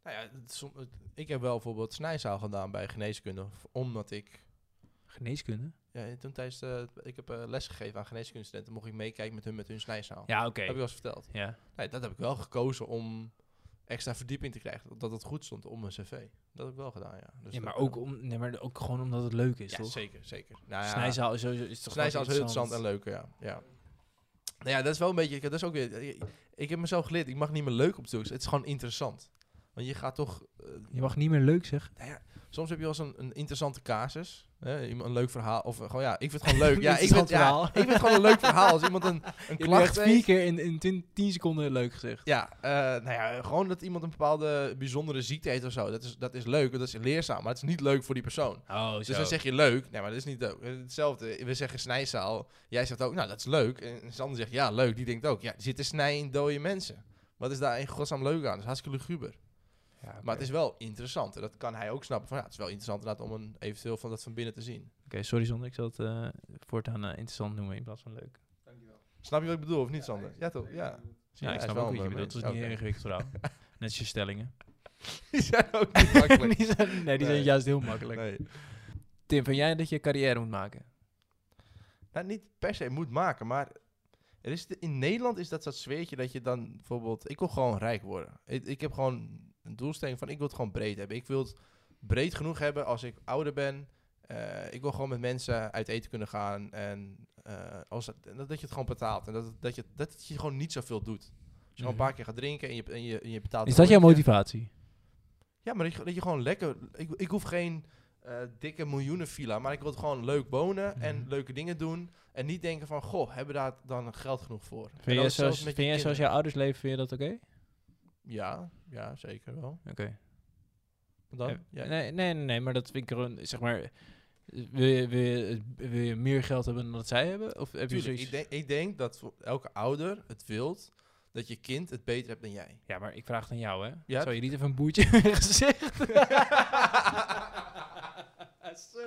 [SPEAKER 2] Nou ja, het is som- het- ik heb wel bijvoorbeeld snijzaal gedaan bij geneeskunde. v- Omdat ik...
[SPEAKER 1] Geneeskunde?
[SPEAKER 2] Ja, toen tijdens de, ik heb eh, les gegeven aan geneeskundestudenten. Mocht ik meekijken met hun met hun snijzaal.
[SPEAKER 1] Ja, oké.
[SPEAKER 2] Heb ik wel Dus eens verteld.
[SPEAKER 1] Ja.
[SPEAKER 2] Nee, dat heb ik wel gekozen om extra verdieping te krijgen. Dat het goed stond op mijn cv. Dat heb ik wel gedaan, ja. Dus
[SPEAKER 1] ja,
[SPEAKER 2] dat,
[SPEAKER 1] maar
[SPEAKER 2] eh,
[SPEAKER 1] ook, om, nee, maar ook gewoon omdat het leuk is,
[SPEAKER 2] Ja,
[SPEAKER 1] toch?
[SPEAKER 2] zeker, zeker. Nou ja,
[SPEAKER 1] Snijzaal is sowieso is toch
[SPEAKER 2] Snijden is
[SPEAKER 1] altijd
[SPEAKER 2] heel interessant en leuk, ja. ja. Nou ja, dat is wel een beetje... Dat is ook weer, ik, ik heb mezelf geleerd, ik mag niet meer leuk opzoeken. Het is gewoon interessant. Want je gaat toch... eh,
[SPEAKER 1] Je mag niet meer leuk zeggen.
[SPEAKER 2] nou ja, soms heb je wel eens een, een interessante casus. Hè? iemand- Een leuk verhaal. Of eh, gewoon ja, ik vind het gewoon leuk. Ja, ik vind,
[SPEAKER 1] Interessant
[SPEAKER 2] ja,
[SPEAKER 1] verhaal.
[SPEAKER 2] ik vind het gewoon een leuk verhaal. Als iemand een, een
[SPEAKER 1] Je hebt
[SPEAKER 2] klacht
[SPEAKER 1] echt vier
[SPEAKER 2] heeft...
[SPEAKER 1] keer in, in 10 seconden leuk gezegd.
[SPEAKER 2] Ja, eh, nou ja, gewoon dat iemand een bepaalde bijzondere ziekte heeft of zo. Dat is, dat is leuk, dat is leerzaam. Maar het is niet leuk voor die persoon.
[SPEAKER 1] Oh,
[SPEAKER 2] Dus dan zeg je leuk. Nee, maar dat is niet leuk. Hetzelfde. We zeggen snijzaal. Jij zegt ook, nou, dat is leuk. En Sander zegt, ja, leuk. Die denkt ook, ja, er zitten snij in dode mensen. Wat is daar in godsnaam leuk aan? Dat is hartstikke luguber. Maar het is wel interessant. En dat kan hij ook snappen. Van, ja, het is wel interessant inderdaad om een eventueel van dat van binnen te zien.
[SPEAKER 1] Oké, sorry Sander, ik zal het eh, voortaan eh, interessant noemen in plaats van leuk.
[SPEAKER 2] Snap je wat ik bedoel of niet, Sander? Ja, toch? Ja.
[SPEAKER 1] Ja,
[SPEAKER 2] hij
[SPEAKER 1] ik
[SPEAKER 2] is
[SPEAKER 1] snap
[SPEAKER 2] wel
[SPEAKER 1] ook wat
[SPEAKER 2] een
[SPEAKER 1] je bedoelt. Het is
[SPEAKER 2] mens.
[SPEAKER 1] niet heel
[SPEAKER 2] Oké.
[SPEAKER 1] ingewikkeld verhaal. Net als je stellingen.
[SPEAKER 2] Die zijn ook niet makkelijk.
[SPEAKER 1] die zijn, nee, die zijn
[SPEAKER 2] Nee.
[SPEAKER 1] juist heel makkelijk.
[SPEAKER 2] Nee.
[SPEAKER 1] Tim, vind jij dat je carrière moet maken?
[SPEAKER 2] nou, niet per se moet maken, maar er is de- in Nederland is dat dat sfeertje dat je dan bijvoorbeeld... Ik wil gewoon rijk worden. Ik, ik heb gewoon een doelstelling van ik wil het gewoon breed hebben. Ik wil het breed genoeg hebben als ik ouder ben. Eh, ik wil gewoon met mensen uit eten kunnen gaan. En eh, als, dat, dat je het gewoon betaalt. En dat, het- dat, je, dat het je gewoon niet zoveel doet. Als je gewoon een paar keer gaat drinken en je, en je, en je betaalt...
[SPEAKER 1] Mhm. Is
[SPEAKER 2] een
[SPEAKER 1] dat jouw
[SPEAKER 2] rondje.
[SPEAKER 1] motivatie?
[SPEAKER 2] Ja, maar dat je, dat je gewoon lekker... Ik, ik hoef geen eh, dikke miljoenen villa, maar ik wil het gewoon leuk wonen en
[SPEAKER 1] Mhm.
[SPEAKER 2] leuke dingen doen. En niet denken van, goh, hebben we daar dan geld genoeg voor? En
[SPEAKER 1] Vind
[SPEAKER 2] dat
[SPEAKER 1] jij
[SPEAKER 2] is zelfs
[SPEAKER 1] zoals,
[SPEAKER 2] met
[SPEAKER 1] vind
[SPEAKER 2] je
[SPEAKER 1] jij zoals
[SPEAKER 2] kinderen.
[SPEAKER 1] jouw ouders leven, vind je dat oké?
[SPEAKER 2] Ja, ja, zeker wel.
[SPEAKER 1] Oké.
[SPEAKER 2] Dan?
[SPEAKER 1] Eh,
[SPEAKER 2] Ja.
[SPEAKER 1] Nee, nee, nee, nee, maar dat vind ik gewoon, zeg maar... eh, Wil je, wil, je, wil je meer geld hebben dan dat zij hebben? Of heb je
[SPEAKER 2] Tuurlijk,
[SPEAKER 1] zoiets...
[SPEAKER 2] ik, denk, ik denk dat voor elke ouder het wilt dat je kind het beter hebt dan jij.
[SPEAKER 1] Ja, maar ik vraag het aan jou, hè?
[SPEAKER 2] Ja.
[SPEAKER 1] Zou je niet even een boertje gezegd? Ja, zo.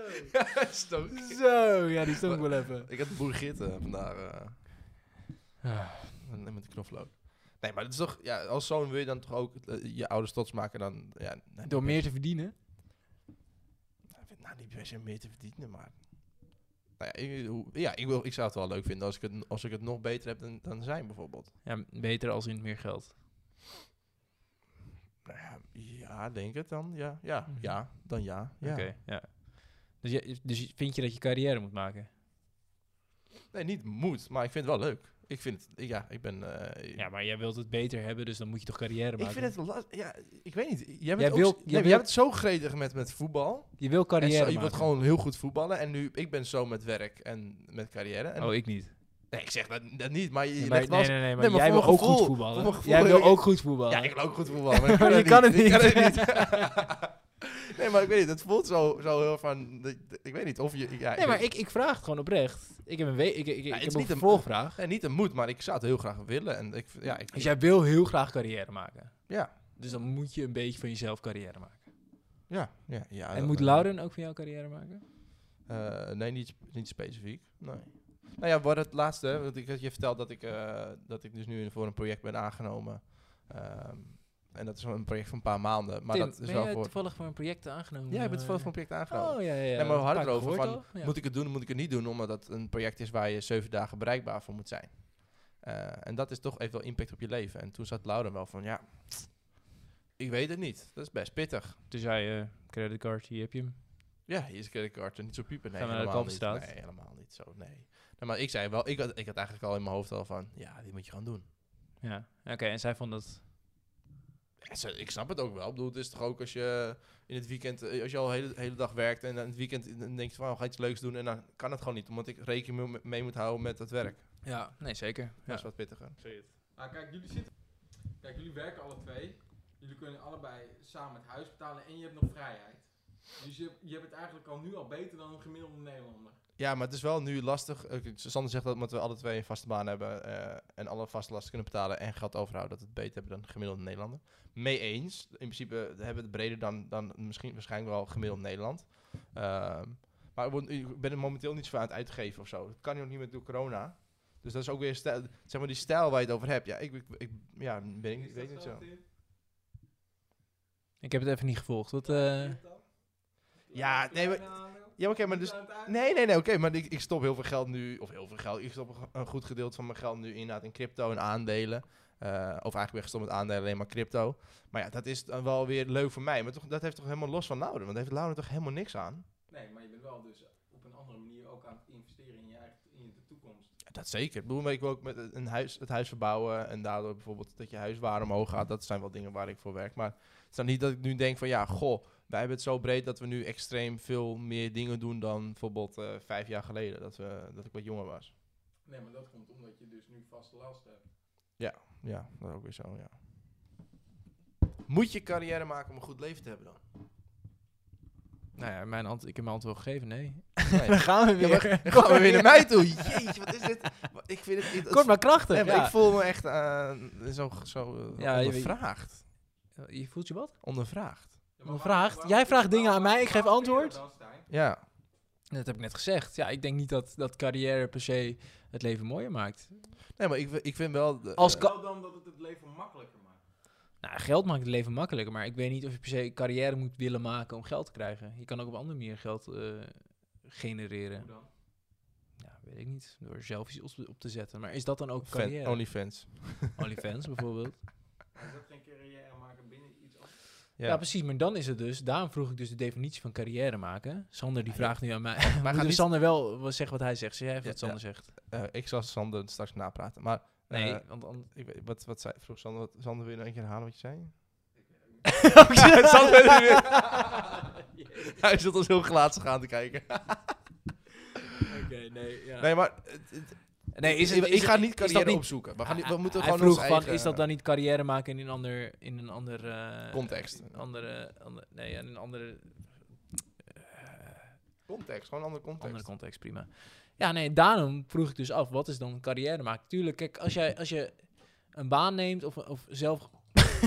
[SPEAKER 2] Stok.
[SPEAKER 1] Zo, ja, die stond ik wel even.
[SPEAKER 2] Ik had bourgit eh, vandaag. eh,
[SPEAKER 1] Ah.
[SPEAKER 2] en met de knoflook. Nee, maar dat is toch... Ja, als zoon wil je dan toch ook eh, je ouders trots maken dan... Ja, nee,
[SPEAKER 1] Door meer te verdienen.
[SPEAKER 2] Nou, niet per se meer te verdienen, maar... Nou ja, ik, hoe- ja ik, wil, ik zou het wel leuk vinden als ik het, als ik het nog beter heb dan, dan zijn, bijvoorbeeld.
[SPEAKER 1] Ja, beter als in meer geld.
[SPEAKER 2] Nou ja, ja, denk het dan. Ja, ja,
[SPEAKER 1] Mhm.
[SPEAKER 2] ja, dan ja. ja.
[SPEAKER 1] Oké, ja. Dus, je, dus vind je dat je carrière moet maken?
[SPEAKER 2] Nee, niet moet, maar ik vind het wel leuk. Ik vind het... ik- Ja, ik ben... eh,
[SPEAKER 1] Ja, maar jij wilt het beter hebben, dus dan moet je toch carrière maken?
[SPEAKER 2] ik vind het lastig. Ja, ik weet niet. Jij bent,
[SPEAKER 1] Jij
[SPEAKER 2] ook,
[SPEAKER 1] wil-
[SPEAKER 2] nee,
[SPEAKER 1] jij
[SPEAKER 2] maar jij
[SPEAKER 1] wil-
[SPEAKER 2] bent zo gretig met, met voetbal.
[SPEAKER 1] Je wil
[SPEAKER 2] En
[SPEAKER 1] carrière
[SPEAKER 2] zo, je
[SPEAKER 1] maken.
[SPEAKER 2] wilt gewoon heel goed voetballen. En nu, ik ben zo met werk en met carrière. En
[SPEAKER 1] Oh, ik niet.
[SPEAKER 2] Nee, ik zeg dat, dat niet, maar je, je
[SPEAKER 1] Nee, maar,
[SPEAKER 2] legt wel
[SPEAKER 1] nee,
[SPEAKER 2] eens-
[SPEAKER 1] nee, nee, maar
[SPEAKER 2] Nee, maar
[SPEAKER 1] jij
[SPEAKER 2] voor
[SPEAKER 1] wil
[SPEAKER 2] mijn
[SPEAKER 1] ook
[SPEAKER 2] gevoel-
[SPEAKER 1] goed
[SPEAKER 2] voor
[SPEAKER 1] voetballen.
[SPEAKER 2] mijn gevoel
[SPEAKER 1] jij wil
[SPEAKER 2] wil ik-
[SPEAKER 1] ook goed voetballen.
[SPEAKER 2] Ja, ik wil ook goed voetballen, maar ik kan
[SPEAKER 1] Je
[SPEAKER 2] het niet.
[SPEAKER 1] kan het
[SPEAKER 2] Ik
[SPEAKER 1] niet.
[SPEAKER 2] niet. nee, maar ik weet niet, het voelt zo, zo heel van... dat- dat- Ik weet niet of je... Ja,
[SPEAKER 1] Nee, maar
[SPEAKER 2] weet-
[SPEAKER 1] ik, ik vraag het gewoon oprecht. Ik heb een, we ik, ik, ik,
[SPEAKER 2] het
[SPEAKER 1] heb
[SPEAKER 2] is
[SPEAKER 1] een
[SPEAKER 2] niet een-
[SPEAKER 1] vervolgvraag.
[SPEAKER 2] Nee, niet een moet, maar ik zou het heel graag willen. En ik, ja, ik,
[SPEAKER 1] Dus jij wil heel graag carrière maken.
[SPEAKER 2] Ja.
[SPEAKER 1] Dus dan moet je een beetje van jezelf carrière maken.
[SPEAKER 2] ja, ja, ja,
[SPEAKER 1] en
[SPEAKER 2] dat-
[SPEAKER 1] moet Lauren ook van jou carrière maken?
[SPEAKER 2] Eh, nee, niet, niet specifiek. Nee. Nou ja, wat het laatste, want ik had je verteld dat ik, eh, dat ik dus nu voor een project ben aangenomen. Ehm, en dat is wel een project van een paar maanden. Maar
[SPEAKER 1] Tim,
[SPEAKER 2] dat is
[SPEAKER 1] ben
[SPEAKER 2] wel
[SPEAKER 1] jij
[SPEAKER 2] voor.
[SPEAKER 1] toevallig voor een project aangenomen?
[SPEAKER 2] Ja, ik ben toevallig
[SPEAKER 1] eh?
[SPEAKER 2] voor een project aangenomen.
[SPEAKER 1] Oh, ja, ja. ja.
[SPEAKER 2] Nee, maar we hadden
[SPEAKER 1] Een
[SPEAKER 2] het
[SPEAKER 1] paar keer
[SPEAKER 2] erover
[SPEAKER 1] gehoord
[SPEAKER 2] van,
[SPEAKER 1] al. Ja.
[SPEAKER 2] Moet ik het doen, moet ik het niet doen? Omdat het een project is waar je zeven dagen bereikbaar voor moet zijn. Eh, en dat is toch even wel impact op je leven. En toen zat Laura wel van, ja, ik weet het niet. Dat is best pittig.
[SPEAKER 1] Toen zei je, creditcard, hier heb je hem.
[SPEAKER 2] Ja, hier is creditcard en niet zo piepen. Nee,
[SPEAKER 1] Gaan we naar de
[SPEAKER 2] helemaal niet.
[SPEAKER 1] Kalverstraat?
[SPEAKER 2] Nee, helemaal niet zo, nee. Nee, maar ik zei wel, ik had, ik had eigenlijk al in mijn hoofd al van, ja, dit moet je gaan doen.
[SPEAKER 1] Ja, oké. en zij vond dat...
[SPEAKER 2] Ja, zo- Ik snap het ook wel. Ik bedoel, het is toch ook als je in het weekend, eh, als je al de hele, hele dag werkt en in het weekend dan denk je van, oh, ga iets leuks doen. En dan kan het gewoon niet, omdat ik rekening mee- mee moet houden met het werk.
[SPEAKER 1] Ja, nee, zeker.
[SPEAKER 2] Dat is wat pittiger.
[SPEAKER 3] Nou, kijk, jullie zitten. Kijk, jullie werken alle twee. Jullie kunnen allebei samen het huis betalen en je hebt nog vrijheid. Dus je, hebt- je hebt het eigenlijk al nu al beter dan een gemiddelde Nederlander.
[SPEAKER 2] Ja, maar het is wel nu lastig. Eh, Sander zegt dat omdat we alle twee een vaste baan hebben eh, en alle vaste lasten kunnen betalen en geld overhouden, dat we het beter hebben dan de gemiddelde Nederlander. Mee eens. In principe hebben we het breder dan, dan misschien waarschijnlijk wel gemiddeld Nederland. Ehm, maar ik word- ik ben er momenteel niet zo aan het uitgeven of zo. Dat kan nu ook niet meer door corona. Dus dat is ook weer stijl, zeg maar die stijl waar je het over hebt. Ja, ik, ik, ik- ja, ben ik,
[SPEAKER 3] Is
[SPEAKER 2] niet- weet
[SPEAKER 3] dat
[SPEAKER 2] niet zo.
[SPEAKER 3] Tim?
[SPEAKER 1] Ik heb het even niet gevolgd. Wat, eh,
[SPEAKER 3] Klopt dat?
[SPEAKER 2] Ja, nee, maar-
[SPEAKER 3] Kleine aandeel?
[SPEAKER 2] Ja, maar oké, maar
[SPEAKER 3] Niet
[SPEAKER 2] dus
[SPEAKER 3] aan het eind?
[SPEAKER 2] Nee, nee, nee, oké, maar ik, ik stop heel veel geld nu, of heel veel geld, ik stop een go- een goed gedeelte van mijn geld nu inderdaad in crypto en aandelen. Eh, of eigenlijk ben ik gestopt met aandelen, alleen maar crypto. Maar ja, dat is dan wel weer leuk voor mij, maar toch, dat heeft toch helemaal los van Lauren, want daar heeft Lauren toch helemaal niks aan?
[SPEAKER 3] Nee, maar je bent wel dus op een andere manier ook aan het investeren in je eigen in de toekomst.
[SPEAKER 2] Ja, dat zeker. Ik bedoel, maar ik wil ook met een een huis, het huis verbouwen en daardoor bijvoorbeeld dat je huiswaarde omhoog gaat, dat zijn wel dingen waar ik voor werk. Maar het is dan niet dat ik nu denk van, ja, goh, wij hebben het zo breed dat we nu extreem veel meer dingen doen dan bijvoorbeeld eh, vijf jaar geleden, dat, we, dat ik wat jonger was.
[SPEAKER 3] Nee, maar dat komt omdat je dus nu vaste last hebt.
[SPEAKER 2] Ja, dat ook weer zo, ja. Moet je carrière maken om een goed leven te hebben dan?
[SPEAKER 1] nou ja, mijn ant ik heb mijn antwoord gegeven, nee.
[SPEAKER 2] Nee.
[SPEAKER 1] Dan gaan we
[SPEAKER 2] Ja,
[SPEAKER 1] weer.
[SPEAKER 2] maar- dan gaan we weer naar mij toe. Jeetje, wat is dit? Wa- Ik vind het... het-
[SPEAKER 1] Kort maar krachtig.
[SPEAKER 2] nee, maar
[SPEAKER 1] ja.
[SPEAKER 2] Ik voel me echt eh, zo, zo eh,
[SPEAKER 1] Ja, je weet-
[SPEAKER 2] ondervraagd.
[SPEAKER 1] Je voelt je wat?
[SPEAKER 2] Ondervraagd.
[SPEAKER 3] Ja,
[SPEAKER 1] Maar vraagt- jij vraagt dingen aan mij, ik geef
[SPEAKER 3] waarom doe je
[SPEAKER 1] antwoord.
[SPEAKER 3] dat dan, Stijn?
[SPEAKER 2] Ja.
[SPEAKER 1] Dat heb ik net gezegd. Ja, ik denk niet dat, dat carrière per se het leven mooier maakt.
[SPEAKER 2] Nee, maar ik, wi- ik vind wel... de-
[SPEAKER 1] Als
[SPEAKER 2] eh,
[SPEAKER 1] ka-
[SPEAKER 3] Wel dan dat het het leven makkelijker maakt.
[SPEAKER 1] Nou, geld maakt het leven makkelijker, maar ik weet niet of je per se carrière moet willen maken om geld te krijgen. Je kan ook op andere manier geld eh, genereren.
[SPEAKER 3] Hoe dan?
[SPEAKER 1] Ja, weet ik niet. Door selfies op te, op te zetten. Maar is dat dan ook
[SPEAKER 2] fan-
[SPEAKER 1] carrière?
[SPEAKER 2] Onlyfans.
[SPEAKER 1] OnlyFans bijvoorbeeld.
[SPEAKER 3] Maar is dat geen carrière maken binnen iets anders?
[SPEAKER 1] Ja. precies. Maar dan is het dus... Daarom vroeg ik dus de definitie van carrière maken. Sander die
[SPEAKER 2] Ah, Ja,
[SPEAKER 1] vraagt nu aan mij. Maar
[SPEAKER 2] gaat
[SPEAKER 1] Moeten we
[SPEAKER 2] niet-
[SPEAKER 1] Sander wel wel zeggen wat hij zegt? Zeg jij even
[SPEAKER 2] Ja,
[SPEAKER 1] wat Sander zegt?
[SPEAKER 2] Eh, ik zal Sander straks napraten. Maar eh,
[SPEAKER 1] Nee, want dan...
[SPEAKER 2] ik weet, wat, wat zei, vroeg Sander, wat, Sander wil je nog een keer herhalen wat je zei? Sander wil
[SPEAKER 1] Oké,
[SPEAKER 2] weer- Hij zit ons heel glazig aan te kijken.
[SPEAKER 1] nee, ja.
[SPEAKER 2] Nee, maar het- het-
[SPEAKER 1] Nee, is het,
[SPEAKER 2] ik,
[SPEAKER 1] is
[SPEAKER 2] ik ga
[SPEAKER 1] het-
[SPEAKER 2] niet
[SPEAKER 1] is dat
[SPEAKER 2] carrière
[SPEAKER 1] niet-
[SPEAKER 2] opzoeken. We, gaan, niet- we
[SPEAKER 1] Hij-
[SPEAKER 2] moeten
[SPEAKER 1] hij
[SPEAKER 2] gewoon
[SPEAKER 1] vroeg
[SPEAKER 2] ons
[SPEAKER 1] van,
[SPEAKER 2] eigen... eh,
[SPEAKER 1] is dat dan niet carrière maken in een ander... In een ander eh,
[SPEAKER 2] Context.
[SPEAKER 1] in een Andere, ander- nee, in een andere, eh,
[SPEAKER 2] Context, gewoon een andere context.
[SPEAKER 1] andere context, prima. Ja, nee, daarom vroeg ik dus af, wat is dan carrière maken? Tuurlijk, kijk, als, jij, als je een baan neemt of, of zelf...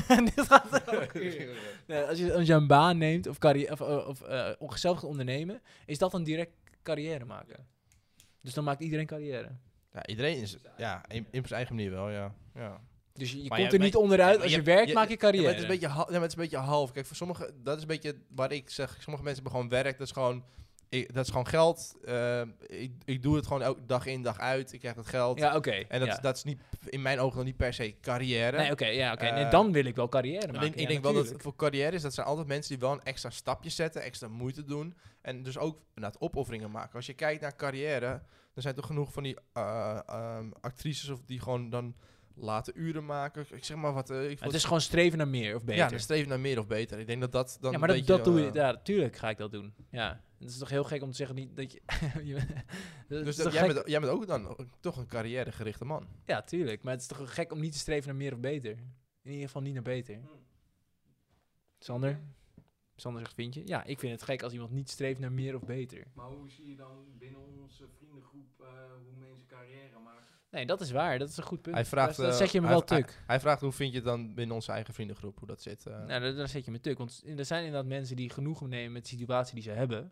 [SPEAKER 1] Dit gaat elke keer. Nee, als, je, als je een baan neemt of, carrière, of, eh, of eh, om zelf gaat ondernemen, is dat dan direct carrière maken. Dus dan maakt iedereen carrière.
[SPEAKER 2] Ja, iedereen is ja, in, in zijn eigen manier wel, ja. ja.
[SPEAKER 1] Dus je, je
[SPEAKER 2] Maar
[SPEAKER 1] komt
[SPEAKER 2] ja,
[SPEAKER 1] er
[SPEAKER 2] maar
[SPEAKER 1] niet
[SPEAKER 2] je- ja,
[SPEAKER 1] onderuit.
[SPEAKER 2] maar
[SPEAKER 1] Als je,
[SPEAKER 2] je-
[SPEAKER 1] werkt,
[SPEAKER 2] je-
[SPEAKER 1] maak je
[SPEAKER 2] Ja,
[SPEAKER 1] carrière.
[SPEAKER 2] maar het, is een beetje hal- ja, maar het is een beetje half. Kijk, voor sommige, dat is een beetje waar ik zeg. Sommige mensen hebben gewoon werk, dat is gewoon, ik, dat is gewoon geld. Eh, ik, ik doe het gewoon elke dag in, dag uit. Ik krijg dat geld.
[SPEAKER 1] Ja, oké.
[SPEAKER 2] En dat,
[SPEAKER 1] ja.
[SPEAKER 2] is, dat is niet, in mijn ogen dan niet per se carrière.
[SPEAKER 1] Nee, oké, ja, oké. nee,
[SPEAKER 2] Eh,
[SPEAKER 1] dan wil ik wel carrière maken.
[SPEAKER 2] ik denk,
[SPEAKER 1] ja,
[SPEAKER 2] ik denk wel dat het
[SPEAKER 1] natuurlijk.
[SPEAKER 2] voor carrière is, dat zijn altijd mensen die wel een extra stapje zetten, extra moeite doen. En dus ook naar het opofferingen maken. Als je kijkt naar carrière, dan zijn toch genoeg van die eh, ehm, actrices of die gewoon dan late uren maken. Ik zeg maar wat. eh, ik
[SPEAKER 1] Het is gewoon streven naar meer of beter.
[SPEAKER 2] Ja, dus dan streven naar meer of beter. Ik denk dat dat dan
[SPEAKER 1] ja, maar
[SPEAKER 2] een
[SPEAKER 1] dat,
[SPEAKER 2] beetje,
[SPEAKER 1] dat doe je.
[SPEAKER 2] eh,
[SPEAKER 1] Ja, natuurlijk ga ik dat doen. Ja. Het is toch heel gek om te zeggen niet dat je. je bent- dat
[SPEAKER 2] Dus
[SPEAKER 1] is
[SPEAKER 2] dat-
[SPEAKER 1] toch
[SPEAKER 2] jij,
[SPEAKER 1] gek-
[SPEAKER 2] bent, jij bent ook dan ook toch een carrièregerichte man.
[SPEAKER 1] Ja, tuurlijk. Maar het is toch gek om niet te streven naar meer of beter. In ieder geval niet naar beter.
[SPEAKER 4] Hm.
[SPEAKER 1] Sander? Ehm, Sander zegt, vind je? Ja, ik vind het gek als iemand niet streeft naar meer of beter.
[SPEAKER 4] Maar hoe zie je dan binnen onze vriendengroep eh, hoe mensen carrière maken?
[SPEAKER 1] Nee, dat is waar. Dat is een goed punt.
[SPEAKER 2] Hij vraagt,
[SPEAKER 1] dat, dat
[SPEAKER 2] eh,
[SPEAKER 1] zet je me
[SPEAKER 2] hij-
[SPEAKER 1] wel tuk.
[SPEAKER 2] Hij vraagt hoe vind je het dan binnen onze eigen vriendengroep, hoe dat zit. eh.
[SPEAKER 1] Nou, daar, daar zet je me tuk. Want er zijn inderdaad mensen die genoegen nemen met de situatie die ze hebben.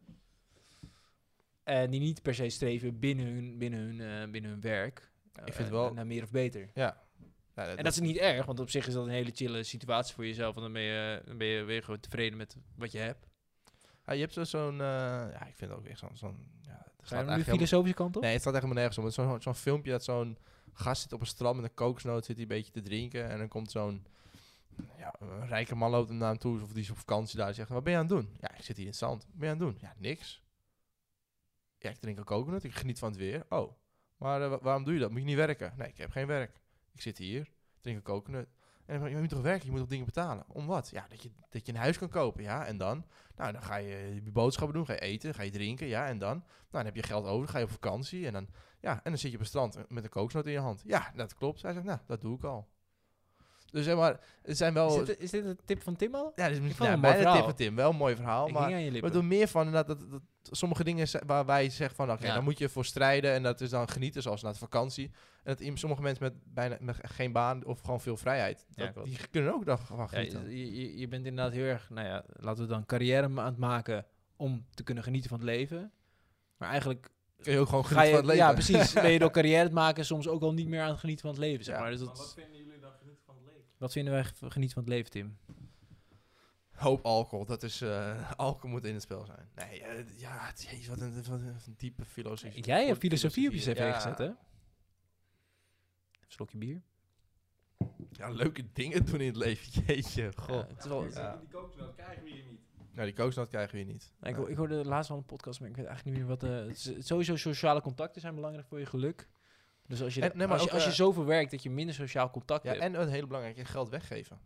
[SPEAKER 1] En die niet per se streven binnen hun, binnen hun, eh, binnen hun werk. eh,
[SPEAKER 2] Ik vind
[SPEAKER 1] eh,
[SPEAKER 2] wel-
[SPEAKER 1] Naar meer of beter.
[SPEAKER 2] Ja,
[SPEAKER 1] En dat is niet erg, want op zich is dat een hele chille situatie voor jezelf. Want dan ben je, dan ben je weer gewoon tevreden met wat je hebt.
[SPEAKER 2] Ja, je hebt zo- zo'n... eh, ja, ik vind het ook weer zo'n... zo'n ja, het
[SPEAKER 1] Ga
[SPEAKER 2] slaat
[SPEAKER 1] je nu de
[SPEAKER 2] eigenlijk helemaal-
[SPEAKER 1] filosofische kant op?
[SPEAKER 2] nee, het staat echt helemaal nergens om. Het is zo'n zo'n filmpje dat zo'n gast zit op een strand met een kokosnoot, zit hij een beetje te drinken. En dan komt zo'n ja, een rijke man loopt hem naar hem toe, of die is op vakantie daar. en Zegt, wat ben je aan het doen? Ja, ik zit hier in het zand. Wat ben je aan het doen? Ja, niks. Ja, ik drink een coconut, ik geniet van het weer. Oh, maar eh, wa- waarom doe je dat? Moet je niet werken? Nee, ik heb geen werk. Ik zit hier, ik drink een coconut. En dan, zeg ik, je moet toch werken, je moet toch dingen betalen. Om wat? Ja, dat je, dat je een huis kan kopen, ja, en dan? Nou, dan ga je je boodschappen doen, ga je eten, ga je drinken, ja, en dan? Nou, dan heb je geld over, ga je op vakantie en dan, ja, en dan zit je op het strand eh, met een kokosnoot in je hand. Ja, dat klopt. Hij zegt, nou, dat doe ik al. Dus zeg maar, het zijn wel...
[SPEAKER 1] Is, dit, is dit een tip van Tim al?
[SPEAKER 2] Ja, dit is
[SPEAKER 1] Ik vond het
[SPEAKER 2] nou,
[SPEAKER 1] een mooi
[SPEAKER 2] bijna
[SPEAKER 1] verhaal.
[SPEAKER 2] tip van Tim. Wel een mooi verhaal.
[SPEAKER 1] Ik
[SPEAKER 2] Oh, maar
[SPEAKER 1] hing aan je
[SPEAKER 2] we
[SPEAKER 1] lippen.
[SPEAKER 2] doen meer van inderdaad dat, dat, sommige dingen zi- waar wij zeggen van... Oké,
[SPEAKER 1] Ja.
[SPEAKER 2] daar moet je voor strijden. En dat is dan genieten, zoals na de vakantie. En dat im- sommige mensen met bijna met geen baan of gewoon veel vrijheid...
[SPEAKER 1] Ja,
[SPEAKER 2] dat-
[SPEAKER 1] klopt.
[SPEAKER 2] die kunnen ook daarvan
[SPEAKER 1] Ja,
[SPEAKER 2] genieten.
[SPEAKER 1] je, je, je bent inderdaad heel erg, nou ja, laten we dan carrière ma- aan het maken om te kunnen genieten van het leven. Maar eigenlijk
[SPEAKER 2] Kun je ook gewoon
[SPEAKER 1] ga
[SPEAKER 2] genieten
[SPEAKER 1] je,
[SPEAKER 2] van het leven.
[SPEAKER 1] ja precies, ben je door carrière te maken soms ook al niet meer aan het genieten van het leven, zeg
[SPEAKER 2] Ja.
[SPEAKER 1] maar. Dus
[SPEAKER 4] Maar wat
[SPEAKER 1] dat,
[SPEAKER 4] vinden jullie dan genieten van het leven?
[SPEAKER 1] wat vinden wij ge- genieten van het leven, Tim?
[SPEAKER 2] Hoop alcohol, dat is... eh, alcohol moet in het spel zijn. Nee, eh, ja, jezus, wat een, wat een- wat een diepe filosofie.
[SPEAKER 1] Jij hebt filosofie op je cv
[SPEAKER 2] ja.
[SPEAKER 1] gezet, hè? Even een slokje bier.
[SPEAKER 2] Ja, leuke dingen doen in het leven. Jeetje, god.
[SPEAKER 1] Oh, Ja, het is wel,
[SPEAKER 4] Dus
[SPEAKER 2] Ja.
[SPEAKER 4] Die kokosnoot krijgen we hier niet.
[SPEAKER 2] Nou, die koosnoot krijgen we hier niet.
[SPEAKER 1] Nou, ik, ho- ik hoorde laatst wel een podcast, maar ik weet eigenlijk niet meer wat... eh, het is- sowieso sociale contacten zijn belangrijk voor je geluk. Dus als je,
[SPEAKER 2] En- nee, maar
[SPEAKER 1] als, je,
[SPEAKER 2] ook,
[SPEAKER 1] als je
[SPEAKER 2] eh,
[SPEAKER 1] zoveel werkt dat je minder sociaal contact
[SPEAKER 2] Ja,
[SPEAKER 1] hebt...
[SPEAKER 2] en een hele belangrijke, geld weggeven.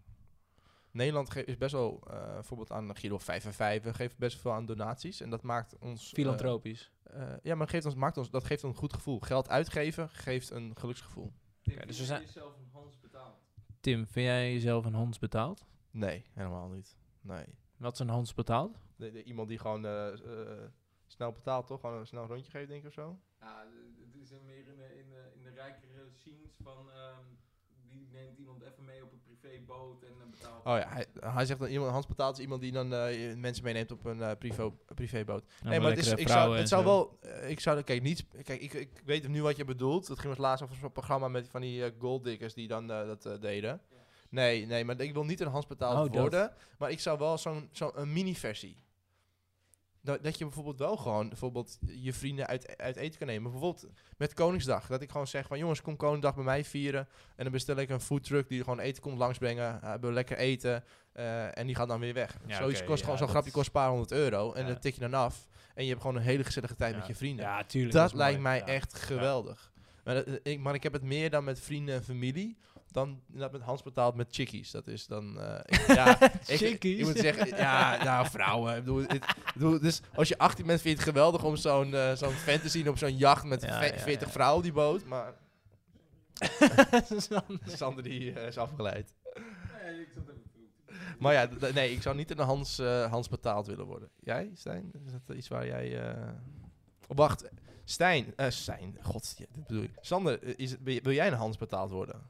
[SPEAKER 2] Nederland ge- is best wel, eh, bijvoorbeeld aan Giro 5 en 5, we geven best veel aan donaties. En dat maakt ons... eh,
[SPEAKER 1] filantropisch.
[SPEAKER 2] eh, ja, maar geeft ons, maakt ons, dat geeft ons een goed gevoel. Geld uitgeven geeft een geluksgevoel.
[SPEAKER 4] Tim,
[SPEAKER 1] dus we
[SPEAKER 4] dus je
[SPEAKER 1] zijn-
[SPEAKER 4] jezelf een Hans betaald?
[SPEAKER 1] Tim, vind jij jezelf een Hans betaald?
[SPEAKER 2] Nee, helemaal niet. Nee.
[SPEAKER 1] Wat is een Hans betaald?
[SPEAKER 2] De- de- iemand die gewoon eh, eh, snel betaalt, toch? Gewoon een snel rondje geeft, denk ik, of zo.
[SPEAKER 4] Ja, d- het is een meer in de, in de, in de rijkere scenes van... ehm, die neemt iemand even mee op een privéboot en dan betaalt...
[SPEAKER 2] Oh ja, hij, hij zegt dat iemand, Hans betaalt is iemand die dan eh, mensen meeneemt op een eh, privé, privéboot.
[SPEAKER 1] Nou,
[SPEAKER 2] Nee, maar het, is, ik zou, het zou wel. eh, Ik zou, kijk, niet, kijk ik, ik weet nu wat je bedoelt. Dat ging ons laatst over zo'n programma met van die eh, golddiggers die dan eh, dat eh, deden. Nee, nee, maar ik wil niet een Hans
[SPEAKER 1] Oh,
[SPEAKER 2] betaald
[SPEAKER 1] dat.
[SPEAKER 2] worden. Maar ik zou wel zo'n zo'n een mini-versie. Dat, dat je bijvoorbeeld wel gewoon bijvoorbeeld je vrienden uit, uit eten kan nemen. Bijvoorbeeld met Koningsdag. Dat ik gewoon zeg van jongens, kom Koningsdag bij mij vieren. En dan bestel ik een foodtruck die gewoon eten komt langsbrengen. eh, Hebben we lekker eten. eh, en die gaat dan weer weg.
[SPEAKER 1] Ja,
[SPEAKER 2] Zoiets
[SPEAKER 1] oké,
[SPEAKER 2] kost
[SPEAKER 1] ja,
[SPEAKER 2] gewoon zo'n
[SPEAKER 1] dat
[SPEAKER 2] grapje
[SPEAKER 1] is-
[SPEAKER 2] kost een paar honderd euro. En
[SPEAKER 1] Ja.
[SPEAKER 2] dat tik je dan af. En je hebt gewoon een hele gezellige tijd
[SPEAKER 1] Ja.
[SPEAKER 2] met je vrienden.
[SPEAKER 1] Ja, tuurlijk.
[SPEAKER 2] dat
[SPEAKER 1] is
[SPEAKER 2] lijkt
[SPEAKER 1] mooi.
[SPEAKER 2] mij
[SPEAKER 1] Ja.
[SPEAKER 2] echt geweldig. Maar, dat- eh, ik, maar ik heb het meer dan met vrienden en familie. Dan dat met Hans betaald met chickies. Dat is dan. eh, ik- ja, ik,
[SPEAKER 1] Chickies?
[SPEAKER 2] Ik moet zeggen, ja, nou, vrouwen. Ik bedoel, het, ik bedoel, dus als je 18 bent, vind je het geweldig om zo'n eh, zo'n vent te zien op zo'n jacht met
[SPEAKER 1] Ja,
[SPEAKER 2] ve-
[SPEAKER 1] ja,
[SPEAKER 2] 40
[SPEAKER 1] ja.
[SPEAKER 2] vrouwen op die boot. Maar
[SPEAKER 1] Dat is dan-
[SPEAKER 2] Sander die eh, is afgeleid.
[SPEAKER 4] Nee, ik zat even te roepen.
[SPEAKER 2] Maar ja, d- nee, ik zou niet in de Hans, eh, Hans betaald willen worden. Jij, Stijn? Is dat iets waar jij. eh, op wacht, Stijn. eh Stijn, god, ja, dit bedoel ik. Sander, eh, is het, wil wil jij een Hans betaald worden?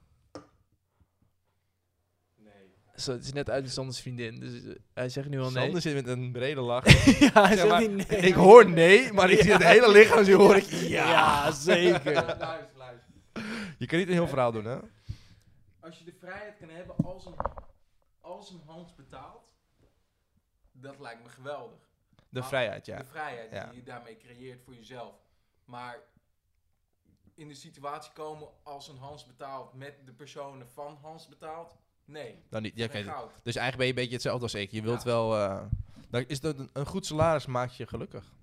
[SPEAKER 4] Nee.
[SPEAKER 1] Zo, het is net uit de Sanders vriendin. Dus eh, hij zegt nu al nee.
[SPEAKER 2] Sander zit met een brede lach.
[SPEAKER 1] ja, hij
[SPEAKER 2] Zeg
[SPEAKER 1] zegt
[SPEAKER 2] maar,
[SPEAKER 1] niet nee.
[SPEAKER 2] Ik hoor nee, maar ik zie het hele lichaam, zo hoor ik ja.
[SPEAKER 1] Ja, zeker.
[SPEAKER 4] Luister, luister.
[SPEAKER 2] Je kan niet een heel verhaal doen, hè?
[SPEAKER 4] Als je de vrijheid kan hebben als een, als een Hans betaalt, dat lijkt me geweldig.
[SPEAKER 2] De
[SPEAKER 4] Ah,
[SPEAKER 2] vrijheid, ja.
[SPEAKER 4] De vrijheid
[SPEAKER 2] Ja.
[SPEAKER 4] die je daarmee creëert voor jezelf. Maar in de situatie komen als een Hans betaalt met de personen van Hans betaalt, nee.
[SPEAKER 2] Dan niet, ja,
[SPEAKER 4] geen
[SPEAKER 2] oké.
[SPEAKER 4] goud.
[SPEAKER 2] Dus eigenlijk ben je een beetje hetzelfde als ik. Je wilt
[SPEAKER 4] Ja.
[SPEAKER 2] wel... eh, dan is dat een, een goed salaris maakt je gelukkig.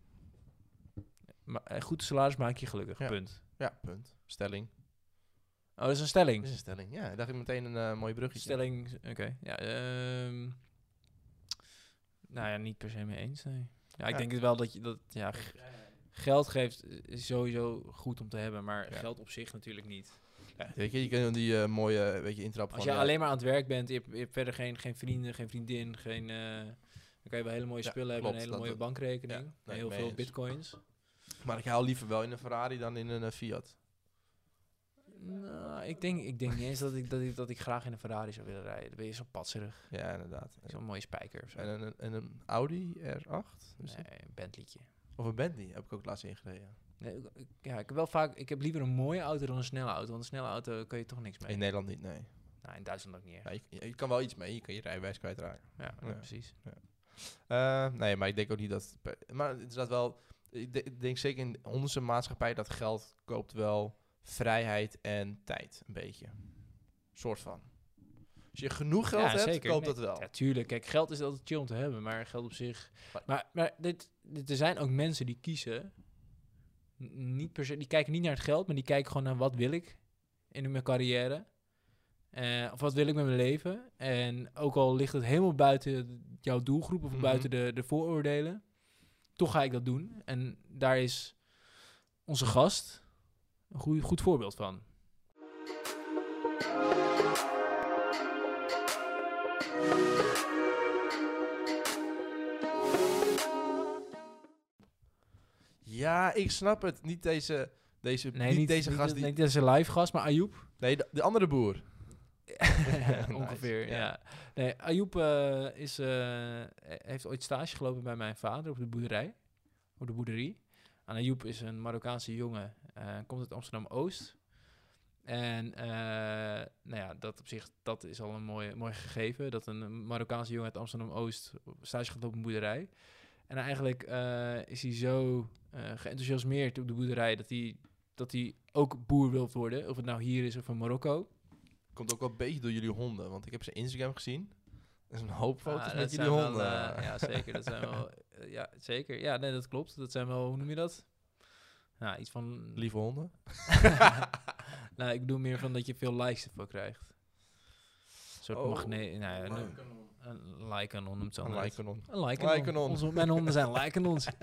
[SPEAKER 1] Maar een goed salaris maakt je gelukkig,
[SPEAKER 2] Ja.
[SPEAKER 1] punt.
[SPEAKER 2] Ja, punt. Stelling.
[SPEAKER 1] Oh, dat is een
[SPEAKER 2] Dat
[SPEAKER 1] stelling.
[SPEAKER 2] is een stelling, ja. dacht ik meteen een eh, mooi mooie bruggetje.
[SPEAKER 1] Stelling, oké. Ja, ehm, nou ja, niet per se mee eens, nee. Ja, ik
[SPEAKER 2] Ja.
[SPEAKER 1] denk het wel dat je dat, ja, g- geld geeft is sowieso goed om te hebben, maar
[SPEAKER 2] Ja.
[SPEAKER 1] geld op zich natuurlijk niet.
[SPEAKER 2] Ja, weet je, je kunt die eh, mooie weet je, intrap
[SPEAKER 1] Als
[SPEAKER 2] van... eh,
[SPEAKER 1] je
[SPEAKER 2] ja,
[SPEAKER 1] alleen maar aan het werk bent, je hebt, je hebt verder geen, geen vrienden, geen vriendin, geen, eh, dan kan je wel hele mooie
[SPEAKER 2] Ja,
[SPEAKER 1] spullen hebben, een hele
[SPEAKER 2] klopt, dat-
[SPEAKER 1] mooie
[SPEAKER 2] dat-
[SPEAKER 1] bankrekening,
[SPEAKER 2] ja, nee,
[SPEAKER 1] heel
[SPEAKER 2] mee
[SPEAKER 1] veel
[SPEAKER 2] eens.
[SPEAKER 1] bitcoins.
[SPEAKER 2] Maar ik hou liever wel in een Ferrari dan in een eh, Fiat.
[SPEAKER 1] Nou, ik denk, ik denk niet eens dat ik, dat, ik, dat ik graag in een Ferrari zou willen rijden. Dan ben je zo patserig,
[SPEAKER 2] Ja, inderdaad.
[SPEAKER 1] zo'n mooie spijker of zo.
[SPEAKER 2] En eh, een, en een Audi R8? Dus dat-
[SPEAKER 1] Nee, een Bentley'tje.
[SPEAKER 2] Of een Bentley, heb ik ook laatst ingereden.
[SPEAKER 1] Nee, ik- ik- ja, ik heb wel vaak. Ik heb liever een mooie auto dan een snelle auto. Want een snelle auto kan je toch niks mee.
[SPEAKER 2] In Nederland niet, nee.
[SPEAKER 1] Nou, in Duitsland ook niet echt.
[SPEAKER 2] Ja, je, je kan wel iets mee, je kan je rijbewijs kwijtraken.
[SPEAKER 1] Ja,
[SPEAKER 2] Ja.
[SPEAKER 1] precies.
[SPEAKER 2] Eh, nee, maar ik denk ook niet dat... het per- Maar het is dat wel... Ik, de- ik denk zeker in onze maatschappij dat geld koopt wel vrijheid en tijd, een beetje. Soort van. Als je genoeg geld
[SPEAKER 1] ja,
[SPEAKER 2] hebt,
[SPEAKER 1] zeker.
[SPEAKER 2] koopt
[SPEAKER 1] Nee,
[SPEAKER 2] dat wel.
[SPEAKER 1] Ja, tuurlijk. Kijk, geld is altijd chill om te hebben. Maar geld op zich.
[SPEAKER 2] Maar-
[SPEAKER 1] Maar, maar dit, dit- er zijn ook mensen die kiezen. n- Niet per se, die kijken niet naar het geld, maar die kijken gewoon naar wat wil ik in mijn carrière. Eh, of wat wil ik met mijn leven? En ook al ligt het helemaal buiten jouw doelgroep of
[SPEAKER 2] Mhm.
[SPEAKER 1] buiten de, de vooroordelen, toch ga ik dat doen. En daar is onze gast een goeie- goed voorbeeld van.
[SPEAKER 2] Ja, ik snap het. Niet deze, deze,
[SPEAKER 1] Nee,
[SPEAKER 2] niet
[SPEAKER 1] niet,
[SPEAKER 2] deze
[SPEAKER 1] niet-
[SPEAKER 2] gast die...
[SPEAKER 1] Niet deze live gast, maar Ayoub.
[SPEAKER 2] Nee, de, de andere boer. Nice,
[SPEAKER 1] Ongeveer,
[SPEAKER 2] ja.
[SPEAKER 1] ja. Nee, Ayoub eh, is, eh, he- heeft ooit stage gelopen bij mijn vader op de boerderij. Op de boerderie. En Ayoub is een Marokkaanse jongen, eh, komt uit Amsterdam-Oost. En eh, nou ja, dat op zich, dat is al een mooi, mooi gegeven. Dat een Marokkaanse jongen uit Amsterdam-Oost stage gaat op een boerderij. En eigenlijk eh, is hij zo eh geenthousiasmeerd op de boerderij dat hij, dat hij ook boer wil worden. Of het nou hier is of in Marokko.
[SPEAKER 2] Komt ook wel een beetje door jullie honden, want ik heb zijn Instagram gezien. Er is een hoop
[SPEAKER 1] Ah,
[SPEAKER 2] foto's
[SPEAKER 1] dat
[SPEAKER 2] met jullie
[SPEAKER 1] zijn wel,
[SPEAKER 2] honden.
[SPEAKER 1] eh, ja, zeker. Dat zijn wel, eh, ja, zeker. Ja, nee, dat klopt. Dat zijn wel, hoe noem je dat? Nou, iets van...
[SPEAKER 2] Lieve honden.
[SPEAKER 1] nou, ik bedoel meer van dat je veel likes ervoor krijgt. Een soort
[SPEAKER 2] Oh,
[SPEAKER 1] magneet... Nou, ja,
[SPEAKER 4] Maar-
[SPEAKER 1] een, een like-anon noemt ze
[SPEAKER 2] Een
[SPEAKER 1] altijd.
[SPEAKER 2] Lycanon.
[SPEAKER 1] Een like-anon.
[SPEAKER 2] Like-anon.
[SPEAKER 1] Onze, mijn honden zijn like-anons.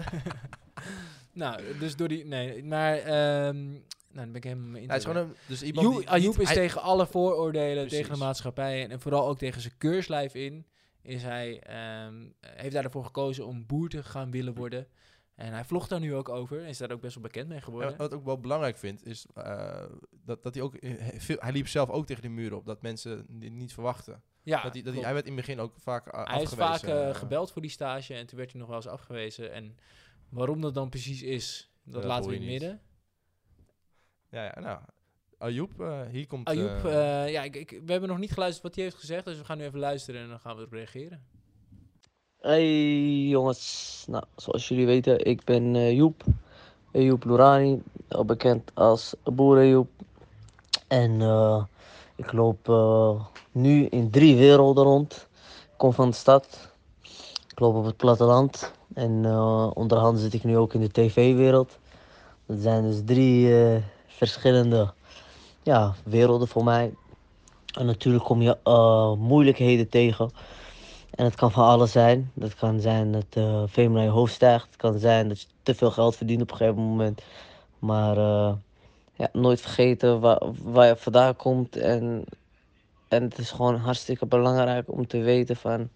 [SPEAKER 1] nou, dus door die... Nee, maar... ehm, nou, dan ben ik helemaal mee in.
[SPEAKER 2] Hij is gewoon een, dus iemand
[SPEAKER 1] Joe-
[SPEAKER 2] die
[SPEAKER 1] Ayoub
[SPEAKER 2] niet-
[SPEAKER 1] ah, is
[SPEAKER 2] hij-
[SPEAKER 1] tegen alle vooroordelen,
[SPEAKER 2] Precies.
[SPEAKER 1] tegen de maatschappij en, en vooral ook tegen zijn keurslijf in. Is hij, ehm, heeft daarvoor gekozen om boer te gaan willen worden. En hij vlogt daar nu ook over en is daar ook best wel bekend mee geworden.
[SPEAKER 2] en wat ik ook wel belangrijk vind, is eh, dat, dat hij ook... eh, Veel, hij liep zelf ook tegen de muren op, dat mensen dit niet verwachten.
[SPEAKER 1] ja,
[SPEAKER 2] dat hij, dat hij,
[SPEAKER 1] klopt.
[SPEAKER 2] hij werd in het begin ook vaak eh,
[SPEAKER 1] Hij is
[SPEAKER 2] afgewezen.
[SPEAKER 1] vaak eh,
[SPEAKER 2] eh,
[SPEAKER 1] gebeld voor die stage en toen werd hij nog wel eens afgewezen. En waarom dat dan precies is, dat,
[SPEAKER 2] Dat
[SPEAKER 1] laten we
[SPEAKER 2] hoor
[SPEAKER 1] in
[SPEAKER 2] je
[SPEAKER 1] het
[SPEAKER 2] niet.
[SPEAKER 1] midden.
[SPEAKER 2] Ja, ja, nou. Ayoub, eh, hier komt...
[SPEAKER 1] Ayoub,
[SPEAKER 2] eh,
[SPEAKER 1] eh, ja, ik, ik, we hebben nog niet geluisterd wat hij heeft gezegd, dus we gaan nu even luisteren en dan gaan we erop reageren.
[SPEAKER 5] Hey jongens, nou, zoals jullie weten, ik ben eh, Joep. Eh, Joep Lurani, al bekend als Boerenjoep. En eh, ik loop eh, nu in drie werelden rond. Ik kom van de stad, ik loop op het platteland. En eh, onderhand zit ik nu ook in de tv-wereld. Dat zijn dus drie eh, verschillende ja, werelden voor mij. En natuurlijk kom je eh, moeilijkheden tegen. En het kan van alles zijn. Dat kan zijn dat eh veel naar je hoofd stijgt. Het kan zijn dat je te veel geld verdient op een gegeven moment. Maar eh, ja, nooit vergeten waar, waar je vandaan komt. En, en het is gewoon hartstikke belangrijk om te weten van...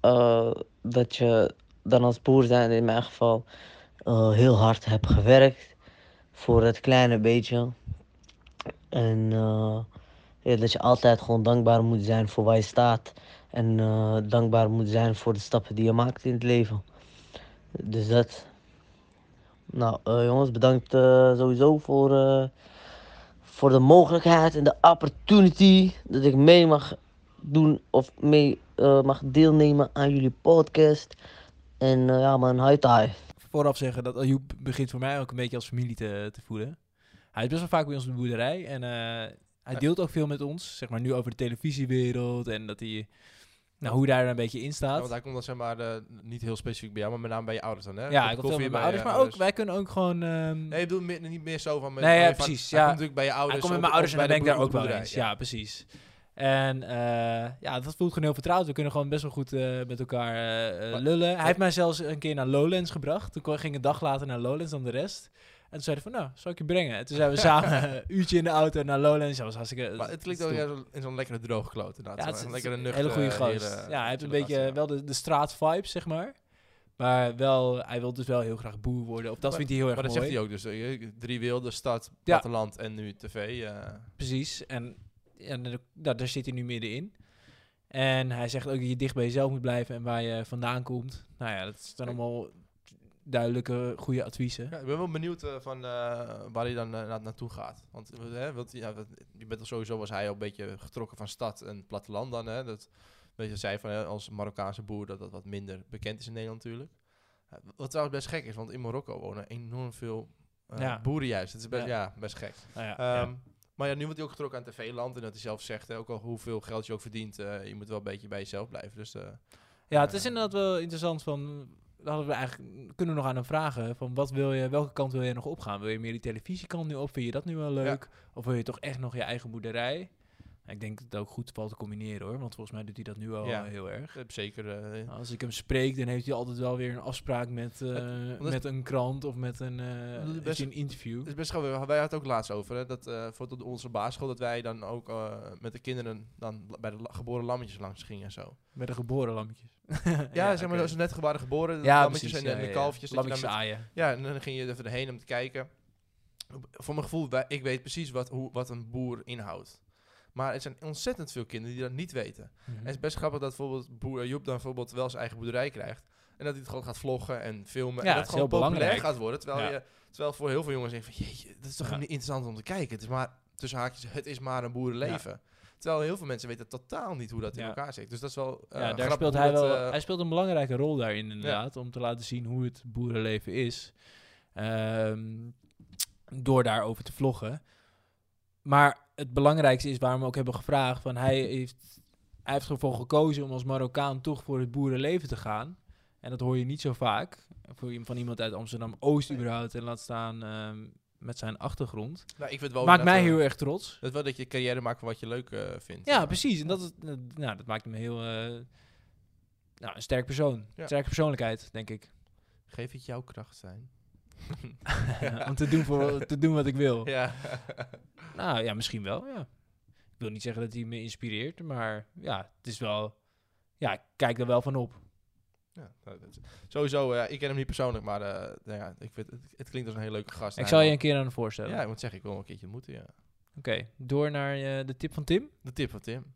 [SPEAKER 5] eh, dat je dan als boer zijn in mijn geval eh, heel hard hebt gewerkt. Voor het kleine beetje. En eh, ja, dat je altijd gewoon dankbaar moet zijn voor waar je staat. En eh, dankbaar moet zijn voor de stappen die je maakt in het leven. Dus dat. Nou, eh, jongens, bedankt eh, sowieso voor, eh, voor de mogelijkheid en de opportunity dat ik mee mag doen of mee eh, mag deelnemen aan jullie podcast. En eh, ja, man, hi tai.
[SPEAKER 1] vooraf zeggen dat Ayoub begint voor mij ook een beetje als familie te, te voelen. Hij is best wel vaak bij ons op de boerderij en eh, hij deelt ook veel met ons. Zeg maar nu over de televisiewereld en dat hij, nou, hoe hij daar een beetje in
[SPEAKER 2] Ja,
[SPEAKER 1] staat.
[SPEAKER 2] want hij komt dan zeg maar eh, niet heel specifiek bij jou, maar met name bij je ouders dan, hè?
[SPEAKER 1] Ja,
[SPEAKER 2] Kop
[SPEAKER 1] ik kom veel
[SPEAKER 2] koffie
[SPEAKER 1] met mijn
[SPEAKER 2] bij
[SPEAKER 1] ouders,
[SPEAKER 2] je
[SPEAKER 1] maar ook, wij kunnen ook gewoon... ehm,
[SPEAKER 2] Nee, ik bedoel meer- niet meer zo van... Met,
[SPEAKER 1] Nee, ja,
[SPEAKER 2] oh, je vader-
[SPEAKER 1] precies,
[SPEAKER 2] Hij
[SPEAKER 1] ja.
[SPEAKER 2] komt natuurlijk bij je
[SPEAKER 1] Hij
[SPEAKER 2] ouders.
[SPEAKER 1] komt met
[SPEAKER 2] op-
[SPEAKER 1] mijn ouders
[SPEAKER 2] op-
[SPEAKER 1] en dan ben
[SPEAKER 2] bij
[SPEAKER 1] ik
[SPEAKER 2] de
[SPEAKER 1] daar ook wel
[SPEAKER 2] boerderij,
[SPEAKER 1] eens. Ja, precies. En eh, ja, dat voelt gewoon heel vertrouwd. We kunnen gewoon best wel goed eh, met elkaar eh, eh,
[SPEAKER 2] Maar-
[SPEAKER 1] lullen. Hij heeft mij zelfs een keer naar Lowlands gebracht. Toen kon- ging een dag later naar Lowlands dan de rest. En toen zei hij van, nou, zal ik je brengen? En toen zijn we samen een uurtje in de auto naar Lowlands. Dat was hartstikke...
[SPEAKER 2] Maar het klinkt
[SPEAKER 1] dat
[SPEAKER 2] ook
[SPEAKER 1] is
[SPEAKER 2] juist wel in zo'n lekkere droogkloot
[SPEAKER 1] ja,
[SPEAKER 2] inderdaad. Zo'n
[SPEAKER 1] het is een
[SPEAKER 2] lekkere nuchter,
[SPEAKER 1] hele goede
[SPEAKER 2] eh,
[SPEAKER 1] gast.
[SPEAKER 2] hele-
[SPEAKER 1] ja, hij heeft een
[SPEAKER 2] chille
[SPEAKER 1] beetje
[SPEAKER 2] gast, ja.
[SPEAKER 1] wel de, de straat-vibes, zeg maar. Maar wel, hij wil dus wel heel graag boer worden. Of dat
[SPEAKER 2] Maar-
[SPEAKER 1] vindt hij heel erg
[SPEAKER 2] Maar dat
[SPEAKER 1] mooi.
[SPEAKER 2] zegt hij ook dus. eh, Drie wilden, stad,
[SPEAKER 1] Ja.
[SPEAKER 2] platteland en nu tv. eh.
[SPEAKER 1] Precies. En, en er- nou, daar zit hij nu middenin. En hij zegt ook dat je dicht bij jezelf moet blijven en waar je vandaan komt. Nou ja, dat zijn allemaal duidelijke, goede adviezen.
[SPEAKER 2] Ja, ik ben wel benieuwd eh, van, eh, waar hij dan eh, na- naartoe gaat. Want, eh, hè, want ja, wat- je bent al sowieso, was hij al een beetje getrokken van stad en platteland dan. Hè, dat, weet je, zei van hè, als Marokkaanse boer dat dat wat minder bekend is in Nederland natuurlijk. Eh, wat trouwens best gek is, want in Marokko wonen enorm veel eh,
[SPEAKER 1] Ja.
[SPEAKER 2] boeren juist. Het is best,
[SPEAKER 1] Ja.
[SPEAKER 2] ja. best gek.
[SPEAKER 1] Nou ja, ja.
[SPEAKER 2] Ehm, Maar ja, nu wordt hij ook getrokken aan tv-land. En dat hij zelf zegt, hè, ook al hoeveel geld je ook verdient, eh, je moet wel een beetje bij jezelf blijven. Dus eh,
[SPEAKER 1] Ja, het is
[SPEAKER 2] ehm,
[SPEAKER 1] inderdaad wel interessant van... dat Hadden we eigenlijk, kunnen we nog aan hem vragen van wat wil je, welke kant wil je nog opgaan? Wil je meer die televisiekant nu op? Vind je dat nu wel leuk? Of wil je toch echt nog je eigen boerderij? Nou, ik denk dat het ook goed valt te combineren hoor, want volgens mij doet hij dat nu al
[SPEAKER 2] Ja.
[SPEAKER 1] eh, heel erg.
[SPEAKER 2] eh, zeker... eh,
[SPEAKER 1] Nou, Als ik hem spreek, dan heeft hij altijd wel weer een afspraak met, eh,
[SPEAKER 2] is-
[SPEAKER 1] met een krant of met een, eh,
[SPEAKER 2] Dat is
[SPEAKER 1] heeft
[SPEAKER 2] best-
[SPEAKER 1] hij een interview.
[SPEAKER 2] Het is best grappig. Wij hadden het ook laatst over. Hè, dat eh, voor tot onze basisschool dat wij dan ook eh, met de kinderen dan la- bij de la- geboren lammetjes langs gingen en zo.
[SPEAKER 1] Met een geboren lammetjes. ja,
[SPEAKER 2] Ja, zeg maar, als ze net waren geboren, de
[SPEAKER 1] ja,
[SPEAKER 2] lammetjes
[SPEAKER 1] precies,
[SPEAKER 2] en, de-
[SPEAKER 1] ja,
[SPEAKER 2] en de
[SPEAKER 1] ja.
[SPEAKER 2] kalfjes. dat je
[SPEAKER 1] Lammetjes
[SPEAKER 2] dan met-
[SPEAKER 1] aaien.
[SPEAKER 2] ja, en dan ging je even erheen om te kijken. Op- Voor mijn gevoel, wij- ik weet precies wat, hoe, wat een boer inhoudt. Maar er zijn ontzettend veel kinderen die dat niet weten.
[SPEAKER 1] Mhm.
[SPEAKER 2] En het is best grappig dat bijvoorbeeld boer Joep dan bijvoorbeeld wel zijn eigen boerderij krijgt. En dat hij het gewoon gaat vloggen en filmen.
[SPEAKER 1] Ja,
[SPEAKER 2] en
[SPEAKER 1] het
[SPEAKER 2] dat
[SPEAKER 1] is
[SPEAKER 2] gewoon
[SPEAKER 1] heel
[SPEAKER 2] populair
[SPEAKER 1] belangrijk.
[SPEAKER 2] gaat worden. Terwijl,
[SPEAKER 1] Ja.
[SPEAKER 2] je, terwijl voor heel veel jongens denken van... Jeetje, dat is toch
[SPEAKER 1] Ja.
[SPEAKER 2] niet interessant om te kijken. Het is maar, tussen haakjes, het is maar een boerenleven. Terwijl heel veel mensen weten totaal niet hoe dat in
[SPEAKER 1] Ja.
[SPEAKER 2] elkaar zit. Dus dat is wel eh,
[SPEAKER 1] ja, daar
[SPEAKER 2] grappig
[SPEAKER 1] speelt
[SPEAKER 2] hoe
[SPEAKER 1] hij
[SPEAKER 2] dat,
[SPEAKER 1] wel.
[SPEAKER 2] eh,
[SPEAKER 1] hij speelt een belangrijke rol daarin, inderdaad. Om te laten zien hoe het boerenleven is. Ehm, door daarover te vloggen. Maar het belangrijkste is waarom we ook hebben gevraagd: van hij heeft, hij heeft ervoor gekozen om als Marokkaan toch voor het boerenleven te gaan. En dat hoor je niet zo vaak. Voor i- Van iemand uit Amsterdam Oost, überhaupt. En laat staan ehm, met zijn achtergrond.
[SPEAKER 2] nou, ik vind wel
[SPEAKER 1] Maakt
[SPEAKER 2] dat,
[SPEAKER 1] mij
[SPEAKER 2] eh,
[SPEAKER 1] heel erg trots.
[SPEAKER 2] Dat wel dat je carrière maakt van wat je leuk eh, vindt.
[SPEAKER 1] Ja,
[SPEAKER 2] zeg maar.
[SPEAKER 1] precies. En dat, is, eh, nou, dat maakt hem heel. eh, nou, een sterk persoon.
[SPEAKER 2] Ja.
[SPEAKER 1] Sterke persoonlijkheid, denk ik.
[SPEAKER 2] Geef het jouw kracht zijn.
[SPEAKER 1] Om te doen, voor, te doen wat ik wil.
[SPEAKER 2] Ja.
[SPEAKER 1] Nou ja, misschien wel. Ja. Ik wil niet zeggen dat hij me inspireert, maar ja, het is wel. Ja, ik kijk er wel van op.
[SPEAKER 2] ja nou, dat is- sowieso, ja, ik ken hem niet persoonlijk, maar eh, nou ja, ik vind, het, het klinkt als een hele leuke gast.
[SPEAKER 1] ik
[SPEAKER 2] Hij
[SPEAKER 1] zal je
[SPEAKER 2] wel-
[SPEAKER 1] een keer aan hem voorstellen.
[SPEAKER 2] Ja, ik moet zeggen, ik wil hem een keertje ontmoeten, ja.
[SPEAKER 1] Oké, door naar eh, de tip van Tim.
[SPEAKER 2] De tip van Tim.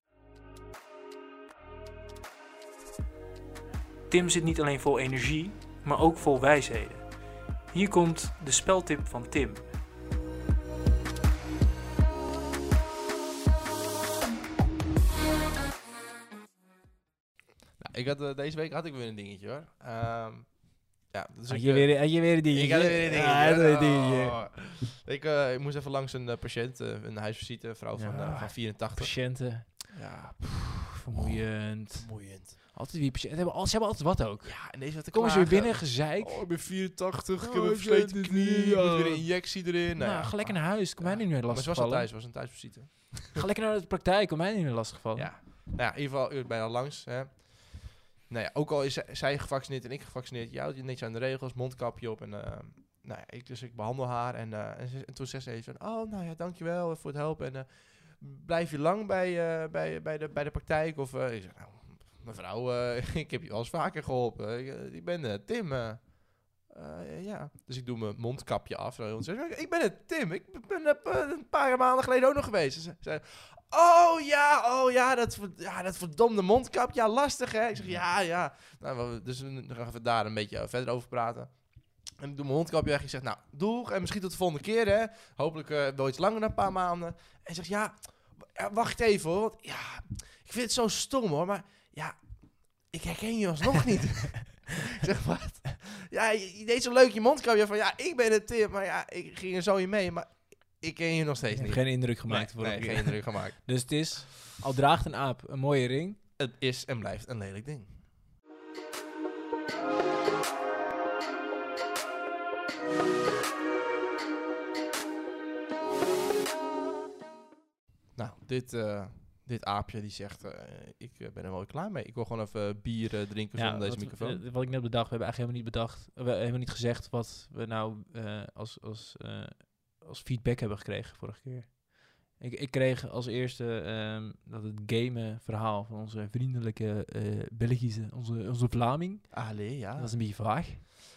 [SPEAKER 1] Tim zit niet alleen vol energie, maar ook vol wijsheden. Hier komt de speltip van Tim.
[SPEAKER 2] Nou, ik had, eh, deze week had ik weer een dingetje hoor. Ehm, ja, dus
[SPEAKER 1] Had
[SPEAKER 2] ik,
[SPEAKER 1] je
[SPEAKER 2] eh,
[SPEAKER 1] weer, had je weer een dingetje?
[SPEAKER 2] ik had weer een dingetje.
[SPEAKER 1] Ah, hij had weer een dingetje.
[SPEAKER 2] Oh. Ik, eh, ik moest even langs een eh, patiënt, eh, een huisvisite, een vrouw van,
[SPEAKER 1] Ja.
[SPEAKER 2] eh, van 84.
[SPEAKER 1] Patiënten,
[SPEAKER 2] Ja,
[SPEAKER 1] vermoeiend.
[SPEAKER 2] vermoeiend.
[SPEAKER 1] Altijd wie patiënten. Hebben, al- ze hebben altijd wat ook.
[SPEAKER 2] Ja, en deze had te
[SPEAKER 1] Komen ze weer binnen, gezeik. Nou,
[SPEAKER 2] Oh, ik ben 84, ik
[SPEAKER 1] Oh,
[SPEAKER 2] heb
[SPEAKER 1] ik
[SPEAKER 2] een
[SPEAKER 1] weet
[SPEAKER 2] versleten
[SPEAKER 1] het
[SPEAKER 2] knie,
[SPEAKER 1] niet,
[SPEAKER 2] ik moet
[SPEAKER 1] ja.
[SPEAKER 2] weer een injectie erin. Nou,
[SPEAKER 1] nou,
[SPEAKER 2] ja.
[SPEAKER 1] ga lekker naar huis. Kom mij niet meer
[SPEAKER 2] Maar
[SPEAKER 1] lastig
[SPEAKER 2] ze was al
[SPEAKER 1] vallen.
[SPEAKER 2] thuis, was een thuisvisite.
[SPEAKER 1] Ga lekker naar de praktijk. Kom mij niet meer lastig vallen.
[SPEAKER 2] Ja. Nou ja, in ieder geval, u bent bijna langs. Hè. Nou ja, ook al is zij- zij gevaccineerd en ik gevaccineerd, je houdt je niks aan de regels, mondkapje op. En, eh, nou ja, ik, dus ik behandel haar. En, eh, en, ze- en toen zei ze even, van, oh, nou ja, dankjewel voor het helpen. En eh, blijf je lang bij, eh, bij, bij, de, bij de praktijk? Of eh, ik zeg, nou, mevrouw, eh, ik heb je wel eens vaker geholpen. Ik, eh, ik ben eh, Tim. eh, Eh, ja. Dus ik doe mijn mondkapje af. En dan zeg ik, ik ben het, Tim. Ik ben er eh, een paar maanden geleden ook nog geweest. En ze zei, oh ja, oh ja dat, verd- ja, dat verdomde mondkapje. Ja, lastig hè. Ik zeg, ja, ja. Nou, we- dus we dan gaan we daar een beetje verder over praten. En ik doe mijn mondkapje weg. Ik zeg, nou, doeg. En misschien tot de volgende keer hè. Hopelijk eh wel iets langer dan een paar maanden. En ze zegt, ja, w- ja, wacht even hoor. Want, ja, ik vind het zo stom hoor. Maar ja, ik herken je alsnog niet. ik zeg, wat? Ja, je, je deed zo leuk je mondkapje van ja, ik ben het Tim, maar ja, ik ging er zo in mee, maar ik ken je nog
[SPEAKER 1] Ik
[SPEAKER 2] steeds
[SPEAKER 1] heb
[SPEAKER 2] niet.
[SPEAKER 1] geen indruk gemaakt
[SPEAKER 2] nee,
[SPEAKER 1] voor
[SPEAKER 2] nee,
[SPEAKER 1] hem.
[SPEAKER 2] geen indruk gemaakt.
[SPEAKER 1] Dus het is, al draagt een aap een mooie ring.
[SPEAKER 2] Het is en blijft een lelijk ding. Nou, dit, eh, dit aapje die zegt, eh, ik eh, ben er wel klaar mee. Ik wil gewoon even eh, bier eh, drinken zonder deze
[SPEAKER 1] wat,
[SPEAKER 2] microfoon.
[SPEAKER 1] eh, wat ik net bedacht, we hebben eigenlijk helemaal niet bedacht, we hebben helemaal niet gezegd wat we nou eh, als, als, eh, als feedback hebben gekregen vorige keer. Ik, ik kreeg als eerste ehm, dat het gamen verhaal van onze vriendelijke eh, Belgische, onze, onze Vlaming.
[SPEAKER 2] Allee, ja.
[SPEAKER 1] eh, Dat was een beetje vaag.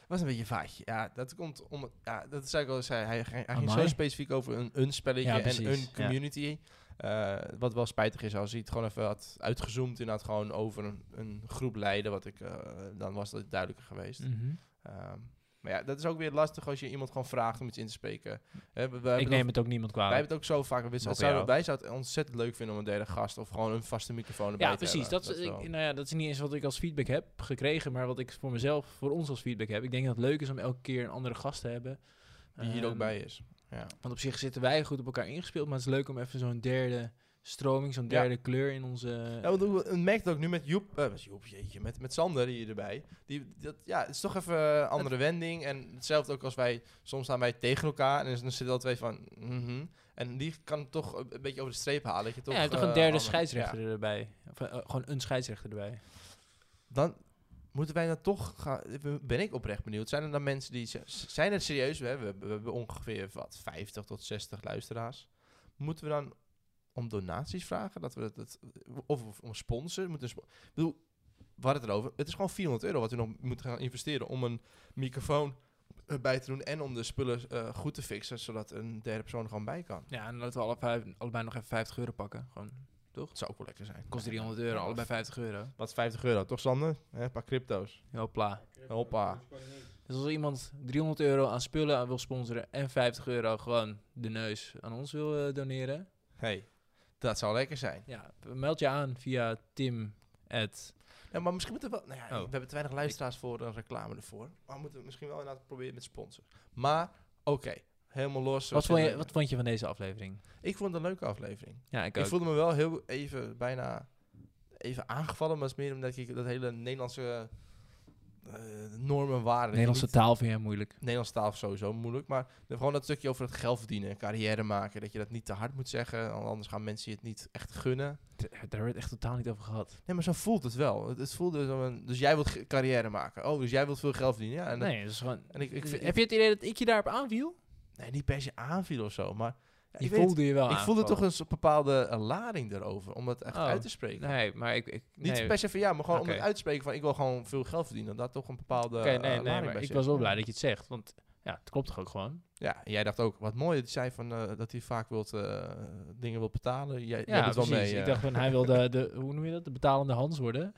[SPEAKER 2] was een beetje vaag. Ja, dat komt om... het- Ja, dat is eigenlijk al zei. Hij, ging- hij ging
[SPEAKER 1] Amai.
[SPEAKER 2] zo specifiek over een, een spelletje
[SPEAKER 1] Ja, precies,
[SPEAKER 2] en een
[SPEAKER 1] ja.
[SPEAKER 2] community. Eh, wat wel spijtig is als hij het gewoon even had uitgezoomd. Inderdaad gewoon over een, een groep leiden. Wat ik, eh, dan was dat duidelijker geweest.
[SPEAKER 1] Mm. Mhm.
[SPEAKER 2] Ehm, maar ja, dat is ook weer lastig als je iemand gewoon vraagt om iets in te spreken. Hè, we, we hebben
[SPEAKER 1] Ik
[SPEAKER 2] het
[SPEAKER 1] neem het ook niemand
[SPEAKER 2] al- wij
[SPEAKER 1] kwalijk.
[SPEAKER 2] hebben het ook zo vaak. We
[SPEAKER 1] Hopen
[SPEAKER 2] zouden,
[SPEAKER 1] jou.
[SPEAKER 2] wij zouden het ontzettend leuk vinden om een derde gast of gewoon een vaste microfoon erbij
[SPEAKER 1] Ja,
[SPEAKER 2] te
[SPEAKER 1] precies.
[SPEAKER 2] hebben.
[SPEAKER 1] Dat, is,
[SPEAKER 2] wel-
[SPEAKER 1] ik- nou ja, dat is niet eens wat ik als feedback heb gekregen, maar wat ik voor mezelf, voor ons als feedback heb. Ik denk dat het leuk is om elke keer een andere gast te hebben.
[SPEAKER 2] die hier
[SPEAKER 1] Ehm,
[SPEAKER 2] ook bij is. Ja.
[SPEAKER 1] Want op zich zitten wij goed op elkaar ingespeeld, maar het is leuk om even zo'n derde stroming, zo'n
[SPEAKER 2] Ja.
[SPEAKER 1] derde kleur in onze... eh,
[SPEAKER 2] Ja, want hoe- het merkt ook nu met Joep, eh, met Joep, jeetje, met, met Sander hier erbij. Die, dat, ja, het is toch even een andere wending. En hetzelfde ook als wij, soms staan wij tegen elkaar en dan zitten al twee van, mhm. En die kan toch een een beetje over de streep halen. Dat je toch,
[SPEAKER 1] ja, toch
[SPEAKER 2] eh,
[SPEAKER 1] een derde
[SPEAKER 2] handig-
[SPEAKER 1] scheidsrechter
[SPEAKER 2] ja.
[SPEAKER 1] erbij. Of, eh, gewoon een scheidsrechter erbij.
[SPEAKER 2] Dan moeten wij dan toch gaan, ben ik oprecht benieuwd, zijn er dan mensen die, z- zijn het serieus, we hebben, we hebben ongeveer wat, 50 tot 60 luisteraars. Moeten we dan om donaties vragen? Dat we dat, dat- of, of om sponsor? Moeten we spo- ik bedoel, we hadden het erover. Het is gewoon 400 euro wat we nog moeten gaan investeren om een microfoon eh, bij te doen en om de spullen eh, goed te fixen, zodat een derde persoon er gewoon bij kan.
[SPEAKER 1] Ja, en laten we alle vijf, allebei nog even 50 euro pakken. Gewoon,
[SPEAKER 2] Dat zou ook wel lekker zijn.
[SPEAKER 1] kost 300 euro, allebei 50 euro.
[SPEAKER 2] Wat 50 euro, toch Sander? Hè, een paar crypto's.
[SPEAKER 1] Hopla.
[SPEAKER 2] Hoppa.
[SPEAKER 1] Dus als iemand 300 euro aan spullen aan wil sponsoren en 50 euro gewoon de neus aan ons wil eh, doneren,
[SPEAKER 2] Hey, dat zou lekker zijn.
[SPEAKER 1] Ja, meld je aan via Tim. at-
[SPEAKER 2] Ja, maar misschien moeten we wel... Nou ja,
[SPEAKER 1] Oh.
[SPEAKER 2] We hebben te weinig luisteraars voor een reclame ervoor. Maar we moeten misschien wel inderdaad proberen met sponsors. Maar, oké. helemaal los. We
[SPEAKER 1] Wat, vond je,
[SPEAKER 2] zitten-
[SPEAKER 1] wat vond je van deze aflevering?
[SPEAKER 2] Ik vond het een leuke aflevering.
[SPEAKER 1] Ja, ik
[SPEAKER 2] Ik
[SPEAKER 1] ook.
[SPEAKER 2] voelde me wel heel even, bijna even aangevallen. Maar het is meer omdat ik dat hele Nederlandse eh, normen en waarden...
[SPEAKER 1] Nederlandse
[SPEAKER 2] niet-
[SPEAKER 1] taal vind jij moeilijk.
[SPEAKER 2] Nederlandse taal is sowieso moeilijk. Maar de- gewoon dat stukje over het geld verdienen, carrière maken. Dat je dat niet te hard moet zeggen. want Anders gaan mensen je het niet echt gunnen.
[SPEAKER 1] Daar werd het echt totaal niet over gehad.
[SPEAKER 2] Nee, maar zo voelt het wel. Het, het voelde zo een, dus jij wilt ge- carrière maken. Oh, dus jij wilt veel geld verdienen. Ja, en dat-
[SPEAKER 1] nee, dat is gewoon...
[SPEAKER 2] en ik- ik vind-
[SPEAKER 1] heb je het idee dat ik je daarop aanviel?
[SPEAKER 2] nee, niet per se aanviel of zo, maar ja,
[SPEAKER 1] Je
[SPEAKER 2] ik, voelde,
[SPEAKER 1] voelde je wel
[SPEAKER 2] ik voelde toch
[SPEAKER 1] aangevallen.
[SPEAKER 2] een soort bepaalde eh, lading erover om dat echt
[SPEAKER 1] Oh,
[SPEAKER 2] uit te spreken.
[SPEAKER 1] Nee, maar ik... ik
[SPEAKER 2] Niet
[SPEAKER 1] nee.
[SPEAKER 2] per se van ja, maar gewoon
[SPEAKER 1] Oké.
[SPEAKER 2] om het uit te spreken van ik wil gewoon veel geld verdienen. Dat toch een bepaalde
[SPEAKER 1] Oké,
[SPEAKER 2] eh,
[SPEAKER 1] nee, nee,
[SPEAKER 2] lading
[SPEAKER 1] maar
[SPEAKER 2] bij
[SPEAKER 1] ik
[SPEAKER 2] zit.
[SPEAKER 1] was wel
[SPEAKER 2] Ja.
[SPEAKER 1] blij dat je het zegt. Want ja, het klopt toch ook gewoon?
[SPEAKER 2] Ja, en jij dacht ook, wat mooi dat hij zei van, eh, dat hij vaak wilt, eh, dingen wilt betalen. Jij, jij
[SPEAKER 1] ja,
[SPEAKER 2] doet wel
[SPEAKER 1] precies.
[SPEAKER 2] mee. eh,
[SPEAKER 1] Ik dacht van, hij wilde de, hoe noem je dat? De betalende Hans worden.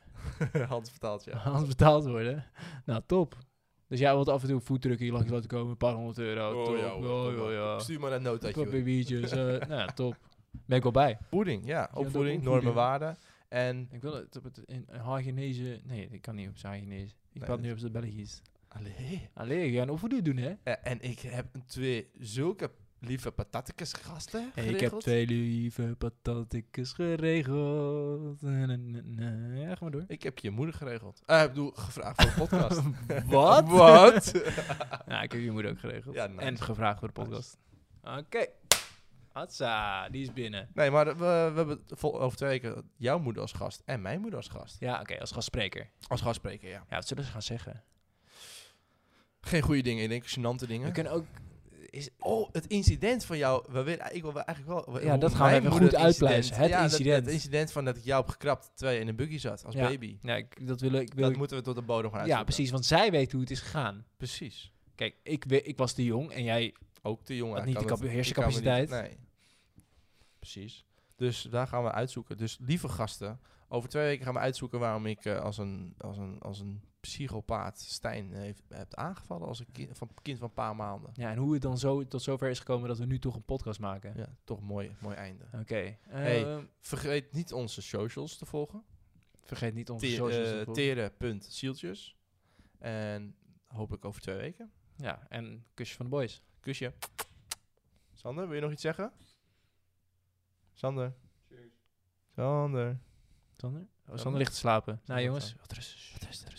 [SPEAKER 2] dacht, Hans betaalt, ja.
[SPEAKER 1] Hans betaald worden. Nou, top. Dus jij wilt af en toe voetdrukken hier langs laten komen. Een paar honderd euro.
[SPEAKER 2] Oh,
[SPEAKER 1] top. Oh, ja, ja, ja.
[SPEAKER 2] Stuur maar een notaatje.
[SPEAKER 1] Een
[SPEAKER 2] hoor.
[SPEAKER 1] paar biertjes. eh, nou, ja, top. Ben ik wel bij.
[SPEAKER 2] Opvoeding, ja.
[SPEAKER 1] dat
[SPEAKER 2] Opvoeding,
[SPEAKER 1] opvoeding.
[SPEAKER 2] normen, waarden. En
[SPEAKER 1] Ik wil het op het in in Hagenese... Nee, ik kan niet op zijn Hagenese. Ik
[SPEAKER 2] Nee,
[SPEAKER 1] praat
[SPEAKER 2] dat-
[SPEAKER 1] nu op het Belgisch.
[SPEAKER 2] Allee.
[SPEAKER 1] Allee, je gaat een opvoeding doen, hè?
[SPEAKER 2] Eh, en ik heb een twee zulke lieve patatjes gasten
[SPEAKER 1] ik heb
[SPEAKER 2] geregeld.
[SPEAKER 1] twee lieve patatjes geregeld. Na, na, na, na. Ja, ga maar door.
[SPEAKER 2] Ik heb je moeder geregeld. Eh, ik bedoel, gevraagd voor de podcast.
[SPEAKER 1] Wat?
[SPEAKER 2] Wat?
[SPEAKER 1] ja, ik heb je moeder ook geregeld.
[SPEAKER 2] Ja, nice.
[SPEAKER 1] En gevraagd voor de podcast. Oké. Hatsa, die is binnen.
[SPEAKER 2] nee, maar we, we hebben vol- over twee weken jouw moeder als gast en mijn moeder als gast.
[SPEAKER 1] Ja, oké, als gastspreker.
[SPEAKER 2] Als gastspreker, ja.
[SPEAKER 1] Ja, wat zullen ze gaan zeggen?
[SPEAKER 2] Geen goede dingen, ik denk gênante dingen.
[SPEAKER 1] We kunnen ook...
[SPEAKER 2] Is, oh, het incident van jou. We willen, ik wil wel eigenlijk wel. we-
[SPEAKER 1] Ja, dat
[SPEAKER 2] hoe
[SPEAKER 1] gaan we
[SPEAKER 2] mijn
[SPEAKER 1] even
[SPEAKER 2] moeder
[SPEAKER 1] goed
[SPEAKER 2] het incident-
[SPEAKER 1] uitpluizen. Het
[SPEAKER 2] ja, dat-
[SPEAKER 1] incident.
[SPEAKER 2] het incident van dat ik jou heb gekrapt terwijl je in een buggy zat als
[SPEAKER 1] Ja.
[SPEAKER 2] baby.
[SPEAKER 1] Ja, ik, dat wil ik. Wil
[SPEAKER 2] Dat
[SPEAKER 1] ik-
[SPEAKER 2] moeten we tot de bodem gaan
[SPEAKER 1] ja,
[SPEAKER 2] uitzoeken.
[SPEAKER 1] precies. Want zij weet hoe het is gegaan.
[SPEAKER 2] Precies.
[SPEAKER 1] Kijk, ik, we- ik was te jong en jij...
[SPEAKER 2] Ook de jongen.
[SPEAKER 1] Had niet
[SPEAKER 2] kan
[SPEAKER 1] de
[SPEAKER 2] dat-
[SPEAKER 1] kap-
[SPEAKER 2] ik
[SPEAKER 1] hersencapaciteit.
[SPEAKER 2] kan me niet- nee. Precies. Dus daar gaan we uitzoeken. Dus lieve gasten, over twee weken gaan we uitzoeken waarom ik eh, als, een, als, een, als een psychopaat Stijn eh, heeft, heb aangevallen als een kind van, kind van een paar maanden.
[SPEAKER 1] Ja, en hoe het dan zo tot zover is gekomen dat we nu toch een podcast maken.
[SPEAKER 2] Ja, toch mooi, mooi einde.
[SPEAKER 1] Oké.
[SPEAKER 2] Hey.
[SPEAKER 1] eh,
[SPEAKER 2] Vergeet niet onze socials te volgen.
[SPEAKER 1] vergeet niet onze
[SPEAKER 2] Te-
[SPEAKER 1] socials.
[SPEAKER 2] eh,
[SPEAKER 1] te volgen.
[SPEAKER 2] Tere.zieltjes. En hopelijk over twee weken.
[SPEAKER 1] ja, en kusje van de boys.
[SPEAKER 2] Kusje. Sander, wil je nog iets zeggen? Sander. Sander.
[SPEAKER 1] Sander? Oh, Sander
[SPEAKER 2] Sander?
[SPEAKER 1] ligt te slapen. Nou
[SPEAKER 2] Sander
[SPEAKER 1] jongens,
[SPEAKER 2] ligt
[SPEAKER 1] wat rust. Wat rust.